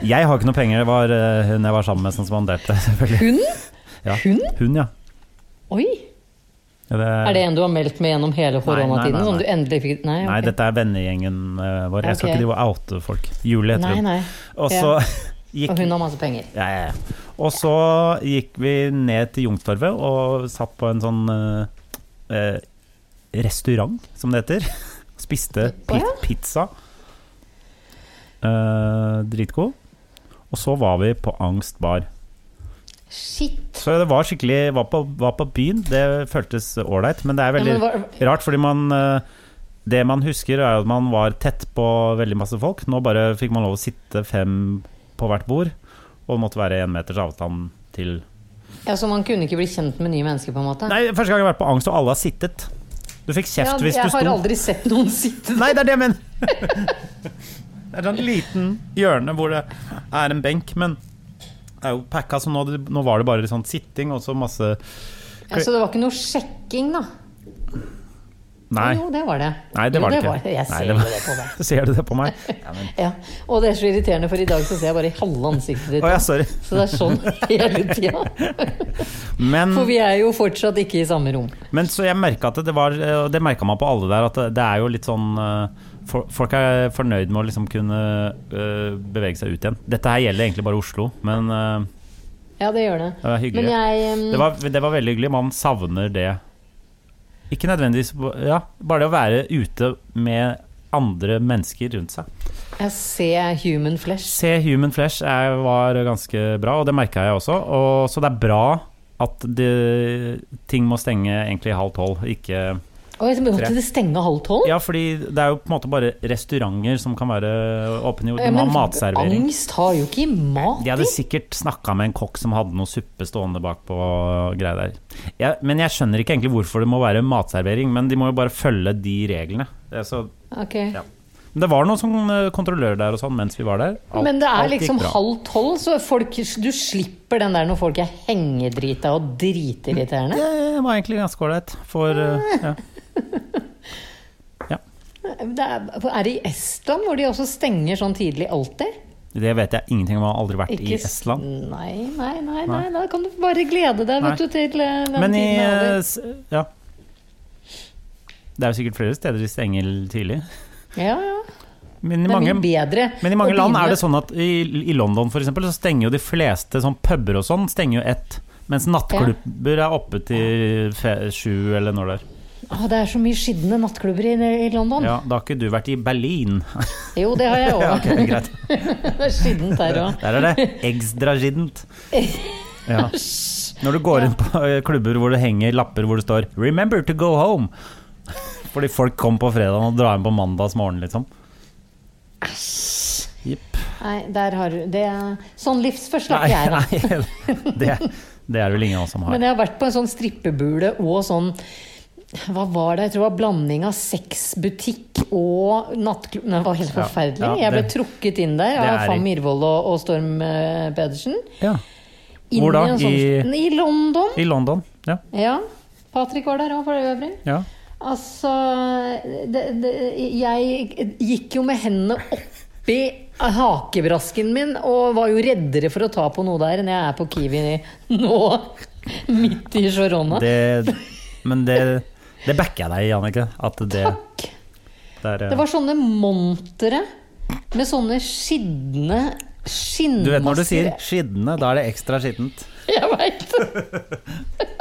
A: Jeg har ikke noe penger, det var eh, hun jeg var sammen med som spanderte. selvfølgelig.
B: Hun?
A: Ja.
B: Hun?
A: Hun, ja.
B: Oi.
A: Ja,
B: Er det en du har meldt med gjennom hele koronatiden?
A: Eh. nei, nei.
B: Som du endelig fikk Nei, ok.
A: Nei, dette er vennegjengen eh, vår. Jeg skal
B: Ok.
A: ikke drive og oute folk. Julie heter
B: nei,
A: hun.
B: nei.
A: Og så
B: Og
A: gikk
B: hun har masse penger.
A: Ja, ja, ja. Og så gikk vi ned til Jungstorvet og satt på en sånn eh, eh, restaurant, som det heter. Spiste pi
B: Å, ja.
A: pizza. Eh, dritgod. Og så var vi på Angst bar.
B: Shit.
A: Så det var skikkelig Var på, var på byen. Det føltes ålreit, men det er
B: Ja,
A: veldig
B: men var,
A: rart, fordi man eh, Det man husker, er at man var tett på veldig masse folk. Nå bare fikk man lov å sitte fem på hvert bord, og det måtte være én meters avstand til
B: ja, så man kunne ikke bli kjent med nye mennesker, på en måte?
A: Nei, første gang jeg har vært på angst, og alle har sittet. Du fikk kjeft
B: ja,
A: hvis du
B: jeg
A: sto
B: har aldri sett noen sitte
A: Nei, det er det jeg mener! det er sånn liten hjørne hvor det er en benk, men det er jo packa, så nå, nå var det bare sånn sitting og så masse
B: Ja, Så Altså, det var ikke noe sjekking, da?
A: Nei,
B: Jo, det var det.
A: nei det
B: jo,
A: var det ikke.
B: Jeg
A: Nei,
B: ser
A: det var-
B: jo det på deg.
A: Ser du det på meg?
B: Ja. Og det er så irriterende, for i dag så ser jeg bare halve ansiktet ditt.
A: Å ja, sorry.
B: Så det er sånn hele tida.
A: Men
B: For vi er jo fortsatt ikke i samme rom.
A: Men så jeg merka at det var eh, Og det merka man på alle der, at det- det er jo litt sånn eh, for- Folk er fornøyd med å liksom kunne eh, bevege seg ut igjen. Dette her gjelder egentlig bare Oslo, men eh,
B: Ja, det gjør det.
A: det var hyggelig.
B: Men jeg um,
A: det, var, det var veldig hyggelig. Man savner det. Ikke nødvendigvis Ja, bare det å være ute med andre mennesker rundt seg.
B: Jeg ser human flesh.
A: Se Human Flesh er, var ganske bra, og det merka jeg også. Og, så det er bra at det, ting må stenge egentlig halv tolv, ikke
B: Oi, så måtte det stenge halv tolv?
A: Ja, fordi det er jo på en måte bare restauranter som kan være åpne. De
B: Eh,
A: må ha
B: men
A: matservering.
B: Angst har jo ikke mat
A: De hadde sikkert snakka med en kokk som hadde noe suppe stående bak på greia der. Jeg- men jeg skjønner ikke egentlig hvorfor det må være matservering, men de må jo bare følge de reglene. Det, er så,
B: Ok.
A: ja. Men det var noen sånn kontrollører der og sånn mens vi var der. Alt-
B: Men det
A: alt
B: er
A: gikk
B: liksom
A: bra.
B: halv tolv, så folk, du slipper den der når folk er hengedrita og dritirriterende.
A: Det var egentlig ganske ålreit for uh, ja. ja.
B: Det er, er det i Estland hvor de også stenger sånn tidlig alltid?
A: Det vet jeg ingenting om, jeg har aldri vært i
B: Ikke s-
A: Estland.
B: Nei, nei, nei, nei, da kan du bare glede deg
A: Nei.
B: vet du, til eh, den
A: Men i
B: tiden er
A: eh,
B: over.
A: s- Ja. Det er jo sikkert flere steder de stenger tidlig.
B: Ja, ja.
A: Men i
B: Det er
A: mange,
B: mye bedre.
A: men i mange
B: å
A: land
B: begynne-
A: er det sånn at i, i London for eksempel, så stenger jo de fleste sånn puber og sånn stenger jo ett. Mens nattklubber er oppe til fe sju eller når det er.
B: Sånn. Å, det er så mye skitne nattklubber i, i London.
A: Ja, da har ikke du vært i Berlin.
B: Jo, det har jeg òg.
A: ja, ok, greit.
B: det er skittent der òg.
A: Der er det ekstragiddent. Ja. Når du går inn på eh, klubber hvor det henger lapper hvor det står 'Remember to go home'. Fordi folk kom på fredag og drar hjem på mandags morgen, liksom. Jepp.
B: Nei, der har du det, Sånn livsforslag
A: Nei,
B: jeg er, da.
A: nei, det, Det er det vel ingen av oss som har.
B: Men jeg har vært på en sånn strippebule og sånn Hva var det? Jeg tror det var blanding av sexbutikk og nattklubb Det var helt
A: Ja,
B: forferdelig.
A: ja,
B: jeg ble
A: det-
B: trukket inn der
C: det
B: av
C: er-
B: Fam Mirvold og, og Storm eh, Pedersen.
A: Ja,
B: Inn
A: Hvor da?
B: I, en sånn, I London.
A: I London. Ja.
B: Ja. Patrick var der òg, for øvrig.
A: ja.
B: Altså det, det, Jeg gikk jo med hendene oppi hakebrasken min og var jo reddere for å ta på noe der enn jeg er på Kiwi nå, midt i Sharona.
A: Det, men det, det backer jeg deg i, Annike. At det, eh,
B: Takk!
A: det er
B: Det var sånne montere med sånne skitne skinnmasker.
A: Du vet når du sier skidne, da er det ekstra skittent.
B: Jeg veit det!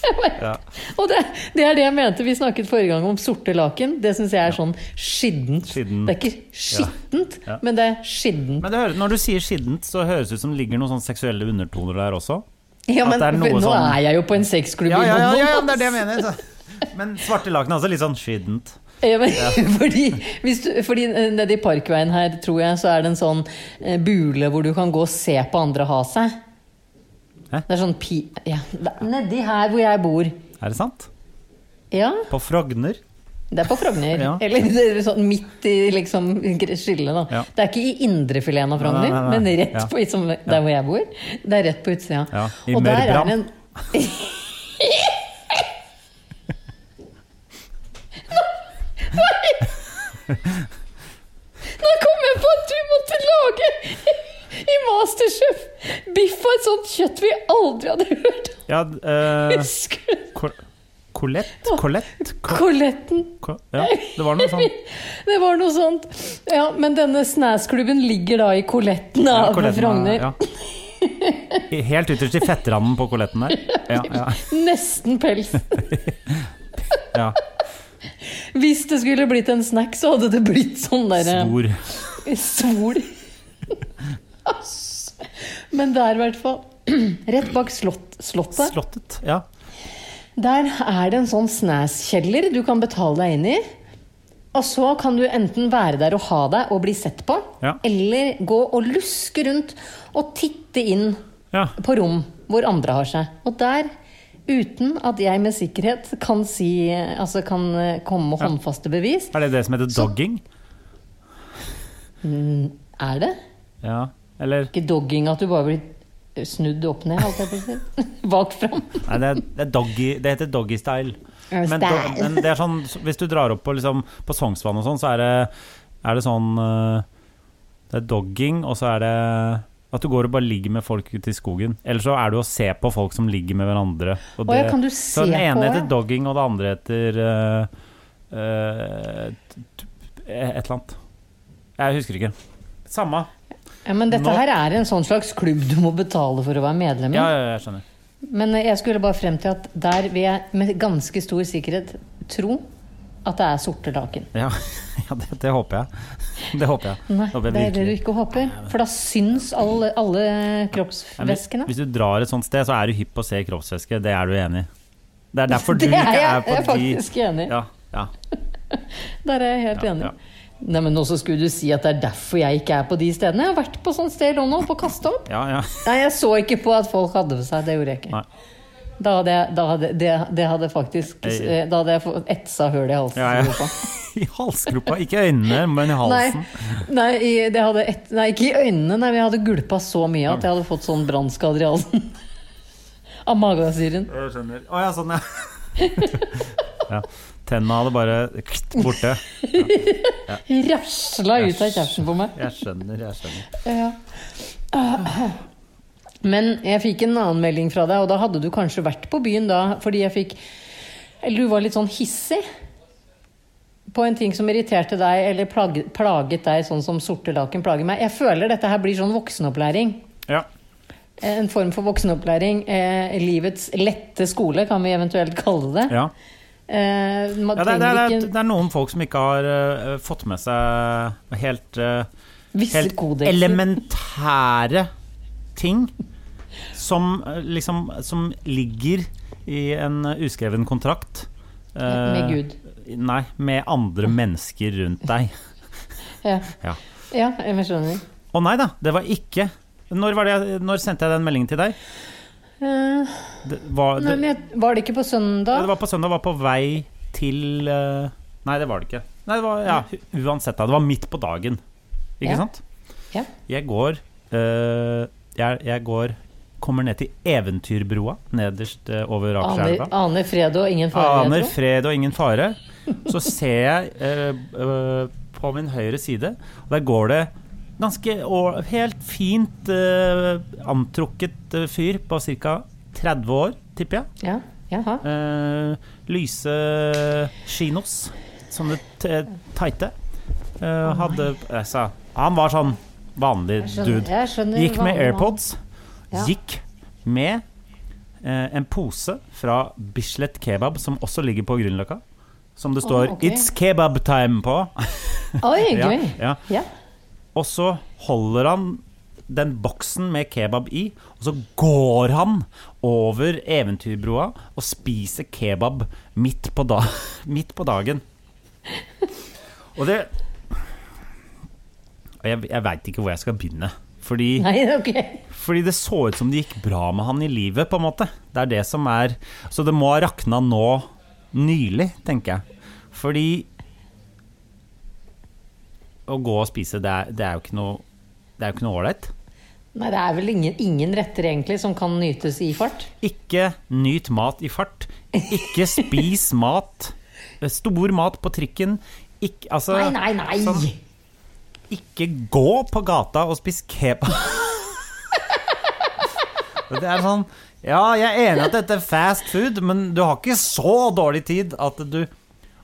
B: Jeg vet.
A: Ja.
B: Og det, det er det jeg mente vi snakket forrige gang om sorte laken. Det syns jeg er sånn skittent.
A: Skitten.
B: Det er ikke skittent,
A: Ja.
B: men det er skittent.
A: Men det høres, når du sier skittent, så høres det ut som det ligger noen sånne seksuelle undertoner der også.
B: Ja,
A: at
B: men
A: det er noe
B: nå
A: sånn-
B: er jeg jo på en sexklubb
A: Ja, ja, ja, ja,
B: i
A: ja
B: London.
A: det er det jeg mener. Så. Men svarte laken er også litt sånn skittent.
B: Ja, men, fordi, hvis du, fordi eh, nede i Parkveien her, tror jeg, så er det en sånn eh, bule hvor du kan gå og se på andre ha seg.
A: Hæ?
B: Det er sånn pi... Ja, det er nedi her hvor jeg bor.
A: Er det sant?
B: Ja,
A: På Frogner?
B: det er på Frogner.
A: Ja.
B: Eller det er sånn midt i liksom skillet, da.
A: Ja.
B: Det er ikke i indrefileten av Frogner,
A: Nei, nei, nei.
B: men rett
A: Ja.
B: på, liksom, der hvor jeg bor. Det er rett på utsida.
A: Ja, i
B: og der er
A: Mørbram.
B: det en Nå kom jeg på at du måtte lage i Masterchef biff av et sånt kjøtt vi aldri hadde hørt om.
A: Ja, eh,
B: Husker du?
A: Col- Colette? Colette? Co-
B: Koletten.
A: Co- Ja, det var noe sånn.
B: Det var noe sånt. Ja, men denne snæsklubben ligger da i koletten
A: Ja,
B: av
A: Coletten,
B: Frogner.
A: ja. I- Helt ytterst i fettranden på Coletten der. Ja, ja,
B: Nesten pels.
A: ja.
B: Hvis det skulle blitt en snack, så hadde det blitt sånn derre
A: Svor.
B: Svol. Ass. Men der, i hvert fall. Rett bak slott, slottet.
A: Slottet. Ja.
B: Der er det en sånn snæskjeller du kan betale deg inn i. Og så kan du enten være der og ha deg og bli sett på,
A: Ja.
B: eller gå og luske rundt og titte inn
A: ja.
B: på rom hvor andre har seg. Og der, uten at jeg med sikkerhet kan si Altså kan eh, komme med håndfaste bevis,
A: Er det det som heter dogging?
B: er det
A: Ja. Eller
B: ikke dogging at du bare blir snudd opp ned, holdt jeg på å si. Bak fram.
A: Nei, det, er, det, er doggy, det heter doggy style.
B: Ja,
A: Men,
B: style.
A: do, men det er sånn, hvis du drar opp på, liksom, på Sognsvann og sånn, så er det, er det sånn eh, Det er dogging, og så er det at du går og bare ligger med folk ute i skogen. Eller så er du og ser på folk som ligger med hverandre. Og
B: Å ja, kan du
A: så
B: se
A: den ene
B: på,
A: heter
B: ja?
A: dogging, og det andre heter eh, eh, t- t- Et eller annet. Jeg husker ikke. Samme.
B: Ja, men dette
A: Nå-
B: her er en sånn slags klubb du må betale for å være medlem i.
A: Ja, ja, ja, jeg skjønner.
B: Men eh, jeg skulle bare frem til at der vil jeg med ganske stor sikkerhet tro at det er sorte laken.
A: Ja, ja det, det håper jeg. Det håper jeg.
B: Nei,
A: håper jeg
B: det er det
A: virkelig.
B: du ikke håper. For da syns alle, alle
A: Nei, men
B: kroppsvæskene.
A: Hvis du drar et sånt sted, så er du hypp på å se kroppsvæske. Det er du enig i. Det er derfor du
B: Det er
A: ikke
B: jeg,
A: er på
B: jeg er
A: de
B: faktisk enig.
A: Ja, ja.
B: Der er jeg helt
A: Ja,
B: enig.
A: ja.
B: Nei, men også skulle du si at det er derfor jeg ikke er på de stedene. Jeg har vært på sånt sted i London, på kaste opp.
A: ja, ja.
B: Nei, jeg så ikke på at folk hadde på seg. Det gjorde jeg ikke.
A: Nei.
B: Da hadde jeg, da hadde, det, det hadde faktisk
A: Jeg-
B: eh, Da hadde jeg fått etsa hull i halsen.
A: Ja, ja.
B: tror jeg på.
A: I halsgropa. Ikke i øynene, men i halsen.
B: Nei, nei, i- det hadde et, nei, ikke i øynene, nei, men jeg hadde gulpa så mye at jeg hadde fått sånn brannskader i halsen. Av magasyren.
A: Jeg skjønner. Å ja, sånn, ja. ja. Tenna hadde bare klitt borte.
B: Rasla ut av kjeften på meg.
A: Jeg skjønner, jeg skjønner.
B: Ja. Men jeg fikk en annen melding fra deg, og da hadde du kanskje vært på byen da, fordi jeg fikk Eller du var litt sånn hissig på en ting som irriterte deg eller plaget, plaget deg, sånn som sorte laken plager meg. Jeg føler dette her blir sånn voksenopplæring. eh,
A: Ja.
B: En form for voksenopplæring. Eh, livets lette skole, kan vi eventuelt kalle det.
A: ja.
B: Eh, man
A: ja det, er- det,
B: trenger
A: er-
B: ikke
A: det er noen folk som ikke har eh, fått med seg helt eh,
B: visse
A: helt
B: kodekser.
A: elementære ting som, eh, liksom, som ligger i en eh, uskreven kontrakt. eh,
B: Med Gud.
A: Nei, med andre mennesker rundt deg.
B: Ja.
A: Ja.
B: ja, jeg skjønner.
A: Å nei da, det var ikke Når, var det, jeg- når sendte jeg den meldingen til deg?
B: Eh,
A: Det var,
B: nei,
A: det,
B: men jeg- var det ikke på
A: Ja,
B: søndag?
A: det var på søndag, var på vei til eh, Nei, det var det ikke. Nei, det var, ja, u- uansett, da. Det var midt på dagen, ikke
B: Ja.
A: sant?
B: Ja.
A: Jeg går eh, jeg, jeg går Kommer ned til Eventyrbrua, nederst eh, over
B: Aner,
A: Akerselva.
B: aner fred og ingen fare,
A: Aner
B: jeg tror.
A: fred og ingen fare. Så ser jeg eh, eh, på min høyre side, og der går det ganske å- helt fint eh, antrukket eh, fyr på ca. 30 år, tipper jeg.
B: Ja, jaha.
A: Eh, lyse chinos, sånne t- tighte. Eh, hadde jeg sa, Han var sånn vanlig
B: Jeg skjønner,
A: dude.
B: jeg skjønner
A: Gikk med
B: vanlig mann.
A: AirPods.
B: Ja.
A: Gikk med eh, en pose fra Bislett Kebab, som også ligger på Grünerløkka. Som det står
B: Å, ok.
A: 'It's kebab time' på.
B: Oi,
A: Ja,
B: gøy.
A: ja.
B: Ja.
A: Og så holder han den boksen med kebab i, og så går han over Eventyrbrua og spiser kebab midt på, da midt på dagen. Og det Og Jeg, jeg veit ikke hvor jeg skal begynne. Fordi
B: Nei, ok.
A: fordi det så ut som det gikk bra med han i livet, på en måte. Det er det som er Så det må ha rakna nå nylig, tenker jeg. Fordi Å gå og spise, det er, det er jo ikke noe Det er jo ikke noe ålreit.
B: Nei, det er vel ingen, ingen retter egentlig som kan nytes i fart.
A: Ikke nyt mat i fart. Ikke spis mat. eh, Stor mat på trikken. Ikke, altså,
B: Nei, nei, nei!
A: sånn, ikke gå på gata og spis kebab. Og Det er sånn Ja, jeg er enig at dette er fast food, men du har ikke så dårlig tid at du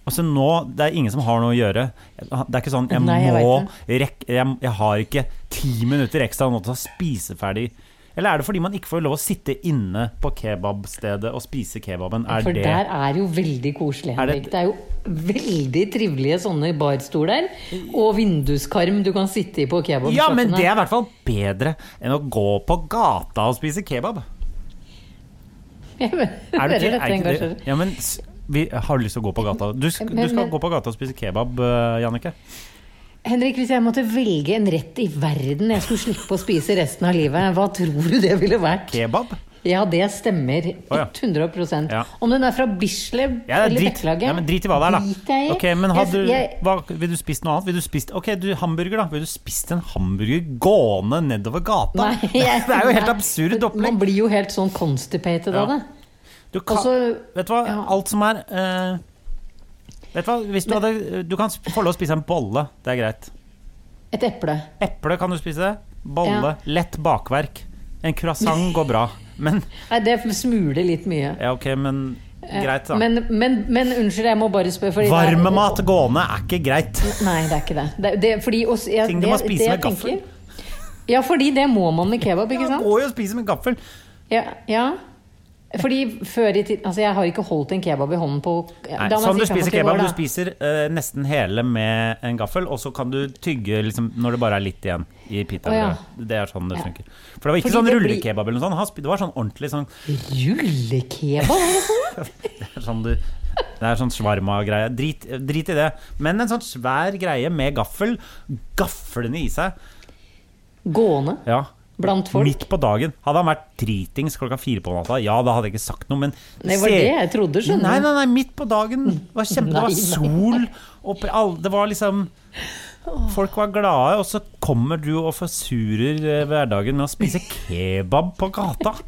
A: Altså nå, Det er ingen som har noe å gjøre. Det er ikke sånn Jeg
B: Nei, jeg
A: må
B: vet
A: rekke jeg, jeg har ikke ti minutter ekstra nå til å spise ferdig. Eller er det fordi man ikke får lov å sitte inne på kebabstedet og spise kebaben? Er
B: For
A: det
B: der er jo veldig koselig,
A: Er det-
B: Henrik. Det er jo veldig trivelige sånne barstoler. Og vinduskarm du kan sitte i på kebabsjappene.
A: Ja, men det er i hvert fall bedre enn å gå på gata og spise kebab. Er du ikke, er ikke det? Ja, men s- vi har lyst til å gå på gata. Du, sk
B: Men-
A: du skal
B: men-
A: gå på gata og spise kebab, eh, Jannicke.
B: Henrik, hvis jeg måtte velge en rett i verden jeg skulle slippe å spise resten av livet, hva tror du det ville vært?
A: Kebab?
B: Ja, det stemmer.
A: Å, ja.
B: 100
A: Ja.
B: Om den er fra Bislett
A: Ja, det er
B: eller
A: drit.
B: Bekkelaget
A: Ja, men drit i hva det er, da.
B: Drit jeg i.
A: Ok, men har
B: Jeg-
A: du,
B: jeg-
A: hva, Vil du spist noe annet? Vil du spist, ok, du, hamburger, da. Vil du spist en hamburger gående nedover gata?
B: Nei, jeg-
A: det er jo helt
B: nei.
A: absurd
B: Man
A: opplegg.
B: blir jo helt sånn constipated av
A: Ja.
B: det.
A: Du kan,
B: Også-
A: vet du hva,
B: ja.
A: alt som er eh, Vet du hva, hvis du hadde Du kan sp- få lov å spise en bolle, det er greit.
B: Et eple.
A: Eple kan du spise. Bolle.
B: Ja.
A: Lett bakverk. En croissant går bra. Men
B: Nei, det smuler litt mye.
A: Ja, ok, men greit, da.
B: Eh, Men, men, men unnskyld, jeg må bare spørre. fordi det er-
A: Varmemat gående er ikke greit.
B: Nei, det er ikke det. det, det fordi, og, s- jeg,
A: Ting du
B: det-
A: må spise
B: det jeg
A: med gaffel.
B: tenker- Ja, fordi det må man med kebab, ikke
A: Man
B: sant?
A: går jo og spiser med gaffel.
B: Ja, ja. Fordi før i tiden Altså, jeg har ikke holdt en kebab i hånden på
A: Nei,
B: da må jeg
A: sånn du
B: si 45
A: spiser
B: år,
A: kebab,
B: da.
A: du spiser eh, nesten hele med en gaffel, og så kan du tygge liksom, når det bare er litt igjen i pitabrødet.
B: Å,
A: Det er sånn det funker. For det var ikke
B: Fordi
A: sånn
B: det blir-
A: rullekebab eller noe sånt. Han sp- Det var sånn ordentlig sånn,
B: Rullekebab? er det sånn?
A: sånn du, Det er sånn svarma-greie. Drit, drit i det. Men en sånn svær greie med gaffel, gaflende i seg.
B: Gående
A: Ja.
B: blant folk?
A: Midt på dagen. Hadde han vært dritings klokka fire på natta, ja, da hadde jeg ikke sagt noe, men
B: Det var
A: se-
B: det jeg trodde, skjønner du.
A: Nei, nei, nei, midt på dagen. Det var, kjempe, det var
B: Nei, nei.
A: sol oppe all, Det var liksom Folk var glade, og så kommer du og forsurer eh, hverdagen med å spise kebab på gata.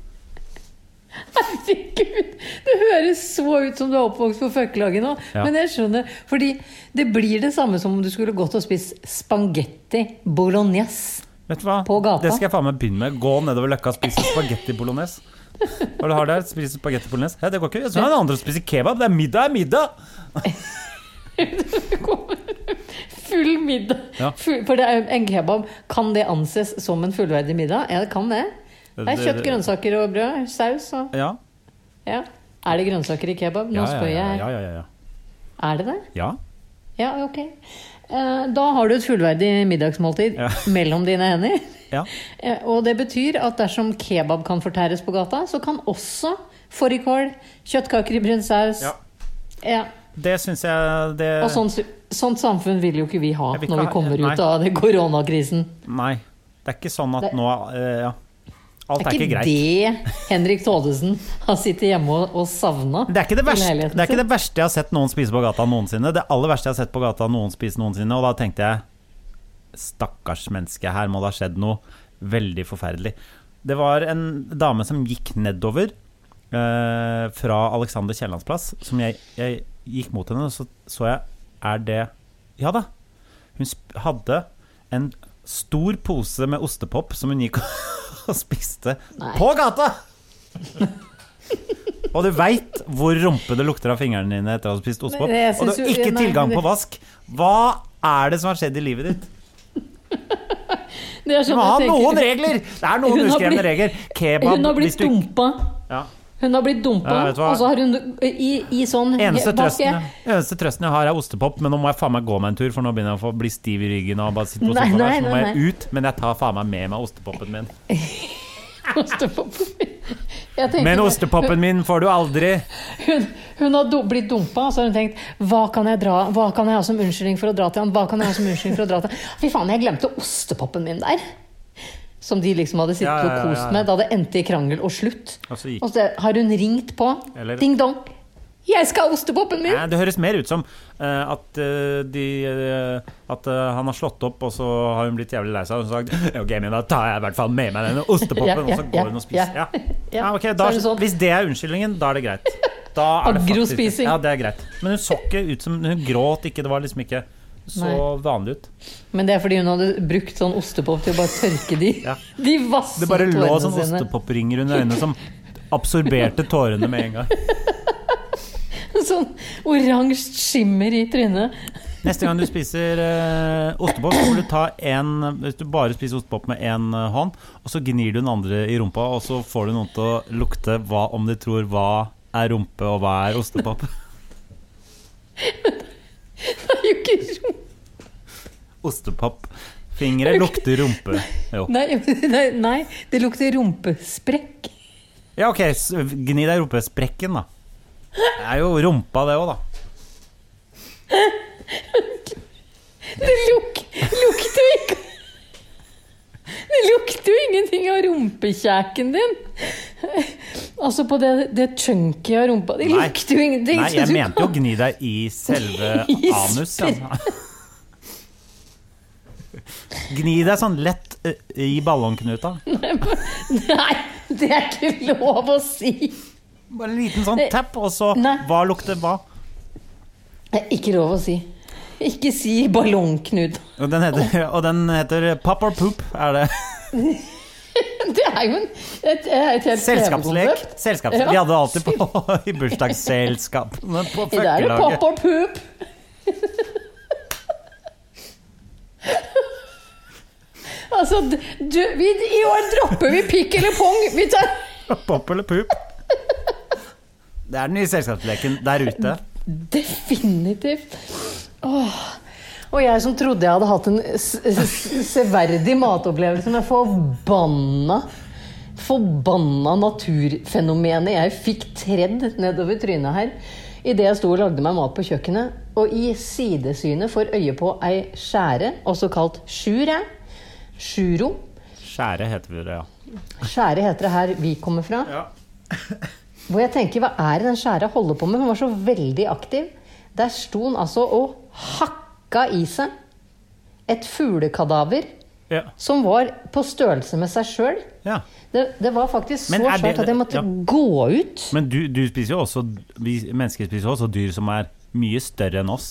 B: Herregud! Det høres så ut som du er oppvokst på Føkkelaget nå.
A: Ja.
B: Men jeg skjønner. Fordi det blir det samme som om du skulle gått og spist spagetti bolognese.
A: Vet du hva?
B: På gata.
A: Det skal jeg faen meg begynne med. Gå nedover løkka og spise spagetti bolognese. Hva du har der? Spise spagetti bolognese? Ja, det går ikke. Så er det andre som spiser kebab. Det er middag, er middag!
B: Full middag.
A: Ja.
B: Full, for det er, jo- en kebab, kan det anses som en fullverdig middag? Ja, det kan det. Det er
A: Det-
B: kjøtt,
A: det-
B: grønnsaker og brød. Saus og
A: Ja.
B: Ja. Er det grønnsaker i kebab? Nå
A: Ja, ja,
B: spør
A: ja,
B: jeg.
A: ja, ja, ja.
B: Er det det?
A: ja.
B: Ja, ok. Eh, Da har du et fullverdig middagsmåltid
A: Ja.
B: mellom dine hender.
A: Ja.
B: Eh, Og det betyr at dersom kebab kan fortæres på gata, så kan også fårikål, kjøttkaker i brun saus
A: Ja.
B: Ja,
A: Det syns jeg det,
B: Og sånn- sånt, sånt samfunn vil jo ikke vi ha
A: Jeg vil ikke
B: når vi
A: ha-
B: kommer
A: nei.
B: ut av den koronakrisen.
A: Nei. Det er ikke sånn at
B: Det-
A: nå eh, ja. Alt er ikke greit.
B: det Henrik Thodesen har sittet hjemme og, og savna?
A: Det er, ikke det,
B: i
A: verste,
B: leiligheten
A: det er ikke
B: sin?
A: det verste jeg har sett noen spise på gata noensinne. Det aller verste jeg har sett på gata noen spise noensinne. Og da tenkte jeg Stakkars menneske, her må det ha skjedd noe veldig forferdelig. Det var en dame som gikk nedover eh, fra Alexander Kiellands plass. Som jeg, jeg gikk mot henne, og så så jeg Er det Ja da. Hun sp- hadde en stor pose med ostepop som hun gikk og spiste
B: Nei.
A: på gata! Og du veit hvor rumpe det lukter av fingrene dine etter å ha spist ostepop.
B: Men jeg
A: Og du
B: synes
A: har
B: jo-
A: ikke
B: nei,
A: tilgang
B: men
A: på vask. Hva er det som har skjedd i livet ditt?
B: Det er
A: Du
B: sånn
A: må ha
B: jeg tenker-
A: noen regler! Det er noen
B: Hun har
A: uskrevne
B: blitt-
A: regler. Kebab
B: Hun har
A: hvis
B: blitt
A: du ikke
B: dumpa.
A: ja.
B: Hun har blitt dumpa,
A: Ja, vet du hva?
B: og så har hun i, i sånn
A: eneste,
B: hva skal
A: trøsten,
B: jeg-
A: jeg- eneste trøsten jeg har, er ostepop, men nå må jeg faen meg gå meg en tur, for nå begynner jeg å få bli stiv i ryggen og bare sitte på
B: Nei,
A: sofaen her,
B: nei,
A: så nå må
B: nei,
A: jeg ut. Men jeg tar faen meg med meg ostepopen min.
B: ostepop. Jeg tenker
A: Men
B: bare,
A: ostepopen min får du aldri!
B: Hun, hun har do, blitt dumpa, og så har hun tenkt hva kan, jeg dra, hva kan jeg ha som unnskyldning for å dra til han? Hva kan jeg ha som unnskyldning for å dra til han? Fy faen, jeg glemte ostepopen min der! Som de liksom hadde sittet
A: Ja, ja, ja, ja.
B: og kost med da det endte i krangel og slutt.
A: Og så gikk-
B: Og så har hun ringt på.
A: Eller-
B: Ding dong! Jeg skal ha ostepopen min!
A: Nei, det høres mer ut som eh, at, eh, de, eh, at eh, han har slått opp, og så har hun blitt jævlig lei seg. Og så har hun sagt ok, men da tar jeg i hvert fall med meg denne ostepoppen,
B: Ja, ja,
A: og så går
B: ja,
A: hun og spiser. Ja.
B: ja.
A: Ja,
B: Ja,
A: ok, da,
B: så er det sånn-
A: Hvis det er unnskyldningen, da er det greit. Da er det faktisk-
B: Agrospising.
A: Ja, det er greit. Men hun så ikke ut som Hun gråt ikke, det var liksom ikke så
B: Nei.
A: vanlig ut.
B: Men det er fordi hun hadde brukt sånn ostepop til å bare tørke de,
A: Ja.
B: de vasse
A: Det bare
B: tårene
A: lå sånn
B: sine.
A: ostepopringer under øynene som absorberte tårene med en gang.
B: Sånn oransje skimmer i trynet.
A: Neste gang du spiser eh, ostepop, så må du ta en Hvis du bare spiser ostepop med én eh, hånd, og så gnir du den andre i rumpa, og så får du noen til å lukte hva, om de tror hva er rumpe, og hva er ostepop.
B: Det er jo ikke rom-
A: Ostepopfingre lukter rumpe. Jo.
B: Nei, nei, nei, det lukter rumpesprekk.
A: Ja, OK, s- gni deg i rumpesprekken, da. Det er jo rumpa, det òg, da.
B: Det luk, lukter jo ikke Det lukter jo ingenting av rumpekjæken din. Altså på det, det chunky av rumpa Det
A: Nei.
B: lukter jo ingenting.
A: Nei,
B: så
A: jeg
B: du
A: mente jo
B: kan-
A: gni deg i selve
B: I
A: anus. Ja. Gni deg sånn lett eh, i ballongknuta.
B: Nei, det er ikke lov å si!
A: Bare en liten sånn tapp, og så
B: Nei.
A: hva lukter hva?
B: Det er ikke lov å si. Ikke si ballongknut.
A: Og den heter, og den heter Pop or Poop, er det.
B: Det er jo en, et, et helt
A: Selskapslek.
B: TV-konsept.
A: Selskapslek.
B: Ja.
A: Vi hadde det alltid på i bursdagsselskapene på
B: I dag er det
A: fuckelaget.
B: pop og poop. altså, d- du, vi, i år dropper vi pikk eller pong. Vi tar
A: Pop eller poop. Det er den nye selskapsleken der ute.
B: definitivt. Åh. Og jeg som trodde jeg hadde hatt en s s severdig matopplevelse, men forbanna Forbanna naturfenomenet jeg fikk tredd nedover trynet her idet jeg sto og lagde meg mat på kjøkkenet. Og i sidesynet får øye på ei skjære, også kalt sjure. Sjuro.
A: Skjære heter vi det, ja.
B: Skjære heter det her vi kommer fra. Hvor jeg tenker, hva er det den skjæra holder på med? Hun var så veldig aktiv. Der sto hun altså og hakka i seg et fuglekadaver
A: ja.
B: som var på størrelse med seg sjøl.
A: ja.
B: Det, det var faktisk
A: Men
B: så
A: er det-
B: svært at jeg måtte
A: ja.
B: gå ut.
A: Men du, du spiser jo også Vi mennesker spiser jo også dyr som er mye større enn oss.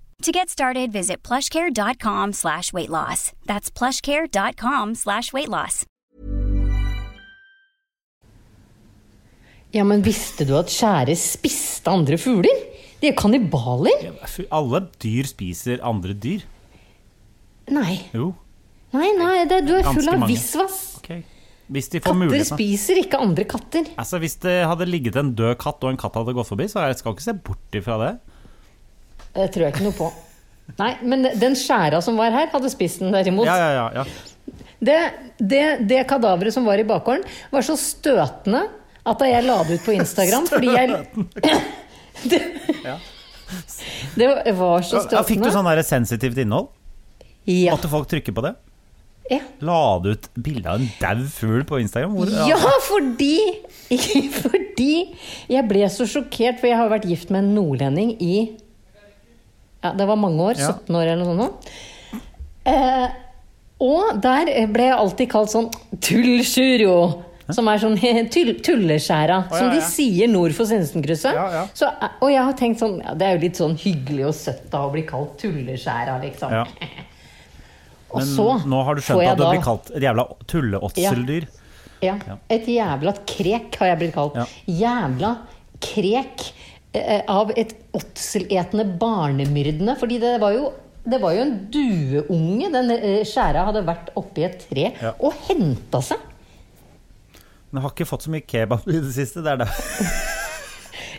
D: To get started, visit plushcare.com slash weight loss. That's plushcare.com slash weight loss.
B: Ja, men visste du at skjære spiste andre fugler? De er kannibaler.
A: Alle dyr spiser andre dyr.
B: Nei.
A: Jo.
B: Nei, nei, det, du er
A: Ganske
B: full av
A: mange.
B: visvas.
A: ok. Hvis de får
B: Katter
A: muligheten.
B: spiser ikke andre katter.
A: Altså, hvis det hadde ligget en død katt, og en katt hadde gått forbi, så jeg skal ikke se bort ifra det.
B: Det tror jeg ikke noe på. Nei, men den skjæra som var her, hadde spist den derimot.
A: Ja, ja, ja, ja.
B: Det, det, det kadaveret som var i bakgården, var så støtende at da jeg la det ut på Instagram fordi jeg det, det var så
A: Ja, Fikk du
B: støtende.
A: sånn der sensitivt innhold?
B: Ja.
A: Måtte folk trykke på det?
B: Ja.
A: La du ut bilde av en dau fugl på Instagram? Hvor, altså,
B: ja, fordi Fordi jeg ble så sjokkert, for jeg har vært gift med en nordlending i ja, Det var mange år.
A: Ja.
B: 17 år eller noe sånt. nå. Eh, og der ble jeg alltid kalt sånn tullsjuro. Som er sånn tull, tulleskjæra, som de sier nord for Sinsenkrysset. Så, og jeg har tenkt sånn ja, Det er jo litt sånn hyggelig og søtt da å bli kalt tulleskjæra, liksom.
A: Ja.
B: og
A: Men
B: så
A: nå har du
B: får
A: skjønt
B: jeg
A: at du
B: da-
A: blir kalt et jævla tulleåtseldyr.
B: ja. Et jævla krek har jeg blitt kalt.
A: Ja.
B: Jævla krek eh, av et åtseletende barnemyrdende. Fordi det var jo, det var jo en dueunge. Den eh, skjæra hadde vært oppi et tre
A: Ja.
B: og henta seg.
A: Men har ikke fått så mye kebab i det siste. Det er det.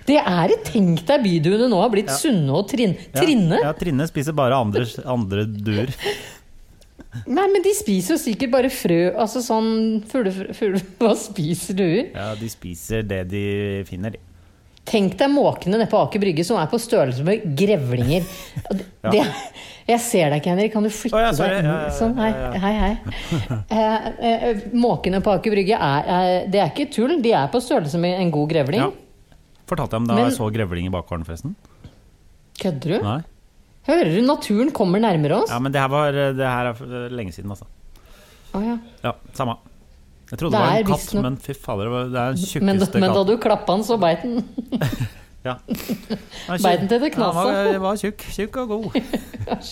B: Det er et tenk deg byduene nå har blitt sunne og trin trinne.
A: Ja, Trinne spiser bare andre, andre duer.
B: Nei, men de spiser jo sikkert bare frø. Altså sånn fuglefrø fugle, Hva spiser duer?
A: Ja, de spiser det de finner, de.
B: Tenk deg måkene nede på Aker Brygge som er på størrelse med grevlinger. Og Det, det, jeg ser deg ikke, Henrik. Kan du
A: Å,
B: flytte
A: ja, sorry.
B: deg inn?
A: Ja, ja, ja,
B: Sånn, hei,
A: ja, ja.
B: hei. hei. Eh, eh, måkene på Aker Brygge er, er Det er ikke tull. De er på størrelse med en god grevling.
A: Ja. Fortalte jeg om da
B: Men-
A: jeg så grevling i bakgården, forresten?
B: Kødder du?
A: Nei?
B: Hører du? Naturen kommer nærmere oss.
A: Ja, men det her, var, det her er lenge siden, altså.
B: Å, ja.
A: Ja, samme. Jeg trodde
B: Det
A: det, var
B: er
A: en katt,
B: visstnok-
A: men fy fader, det var- det er den
B: Men,
A: tjukkeste
B: men da
A: katten.
B: du klappa den, så beit den.
A: Ja. Han
B: Beit den til det
A: Ja, Han var,
B: knaset.
A: var tjukk, tjukk og god.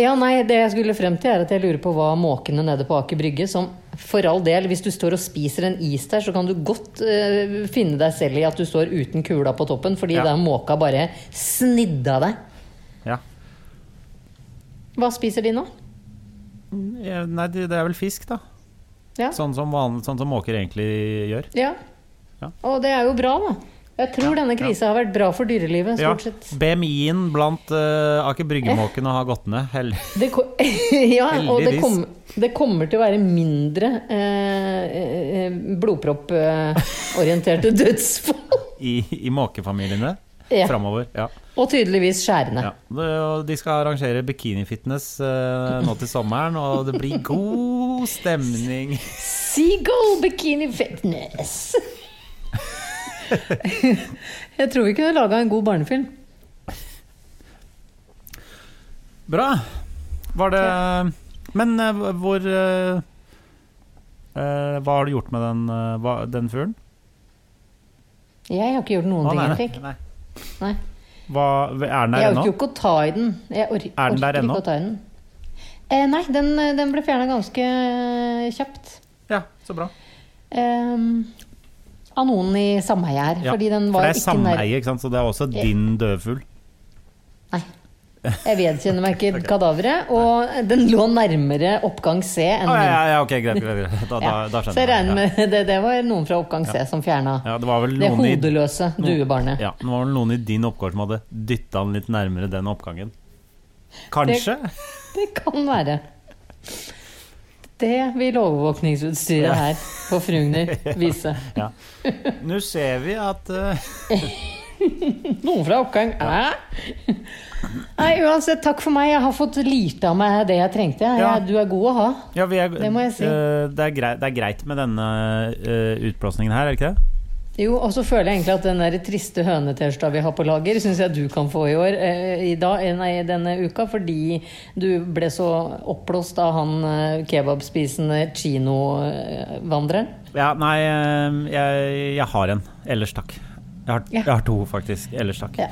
B: Ja, nei, det jeg skulle frem til er at jeg lurer på hva måkene nede på Aker Brygge som For all del, hvis du står og spiser en is der, så kan du godt eh, finne deg selv i at du står uten kula på toppen, fordi
A: Ja.
B: da har måka bare snidda deg.
A: Ja.
B: Hva spiser de nå?
A: Ja, Nei, det det er vel fisk, da.
B: Ja.
A: Sånn som, vanlig, sånn som måker egentlig gjør.
B: ja.
A: Ja.
B: Og det er jo bra, da. Jeg tror denne krisa har vært bra for dyrelivet,
A: Ja,
B: stort sett.
A: BMI-en blant eh, Aker Brygge-måkene har gått ned. Hell.
B: Det ko ja, og det,
A: Heldigvis.
B: kom det kommer til å være mindre eh, eh, blodpropporienterte dødsfall.
A: i, i måkefamiliene
B: Ja.
A: framover. Ja.
B: Og tydeligvis skjærende.
A: Ja. Det- og De skal arrangere bikinifitness eh, nå til sommeren, og det blir god stemning.
B: Seagull Bikini Fitness. Jeg tror vi kunne laga en god barnefilm.
A: Bra. Var det Men eh, hvor eh, eh, Hva har du gjort med den, eh, hva- den fuglen?
B: Jeg har ikke gjort noen
A: Å,
B: ting,
A: nei,
B: Henrik.
A: nei.
B: Nei.
A: Hva, er den der
B: Jeg
A: ennå?
B: orker jo ikke å ta i den. Jeg or
A: Er den der
B: orker
A: ennå?
B: Ikke å ta i den. Eh, nei, den, den ble fjerna ganske eh, kjapt.
A: Ja, så bra.
B: Eh, av noen i sameie her.
A: Ja.
B: Fordi den var
A: For det er
B: ikke nær...
A: sameie, ikke sant? så det er også din dødfugl.
B: Nei. Jeg vedkjenner meg ikke kadaveret. Og den lå nærmere oppgang C enn
A: Å, ja,
B: min.
A: ja, ja, ok, greit. greit, greit. Da, da,
B: Ja.
A: da
B: Så jeg
A: skjønner
B: regner
A: jeg.
B: med det, det var noen fra oppgang C som fjerna.
A: Ja. ja, det var vel
B: Det
A: noen i
B: hodeløse
A: noen-
B: duebarnet.
A: Mm. Ja, det var vel noen i din oppgård som hadde dytta han litt nærmere den oppgangen. Kanskje?
B: Det kan være. Det vil overvåkningsutstyret
A: Ja.
B: her på Frugner vise.
A: Ja. Nå ser vi at eh,
B: Noen fra oppgang Æ? Nei, uansett, takk for meg. Jeg har fått lite av meg det jeg trengte. Jeg,
A: Ja.
B: Du er god å ha.
A: ja, vi er,
B: Det må jeg si.
A: eh, det, er greit, det er greit med denne eh, utblåsningen her, er det ikke det?
B: Jo, og så føler jeg egentlig at den der triste høne-T-skjorta vi har på lager, syns jeg du kan få i år, eh, i dag, eh, nei, denne uka, fordi du ble så oppblåst av han eh, kebabspisende eh, kinovandreren.
A: Ja, nei, eh, jeg, jeg har en. Ellers takk. Jeg har,
B: Ja.
A: jeg har to, faktisk. Ellers takk.
B: Ja.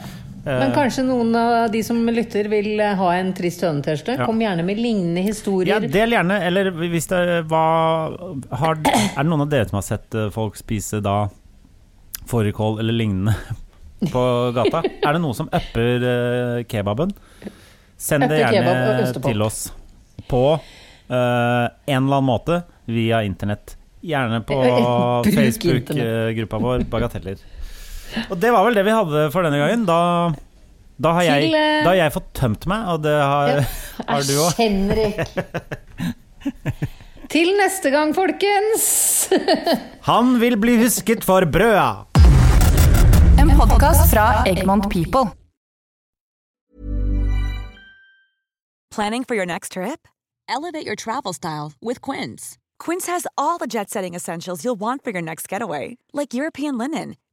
B: Men
A: Eh,
B: kanskje noen av de som lytter vil eh, ha en trist høne-T-skjorte?
A: Ja.
B: Kom gjerne med lignende
A: Ja,
B: historier.
A: del gjerne. Eller hvis det hva, har, Er det noen av dere som har sett eh, folk spise da fårikål eller lignende på gata? Er det noe som upper eh, kebaben? Send det
B: Upper kebab og
A: gjerne
B: ostepop.
A: til oss på eh, en eller annen måte via internett. Gjerne på
B: Eh, bruk internett.
A: Facebook-gruppa vår, Bagateller. Og det var vel det vi hadde for denne gangen. Da, da, har, jeg,
B: Til, eh,
A: da har jeg fått tømt meg, og det har, har du òg.
B: Æsj, Henrik! Til neste gang, folkens!
A: Han vil bli husket for brøda!
E: En podkast fra Egmont People.
F: Planning for your next trip? Elevate your travel style with Quince. Quince has all the jet setting essentials you'll want for your next getaway, like European linen,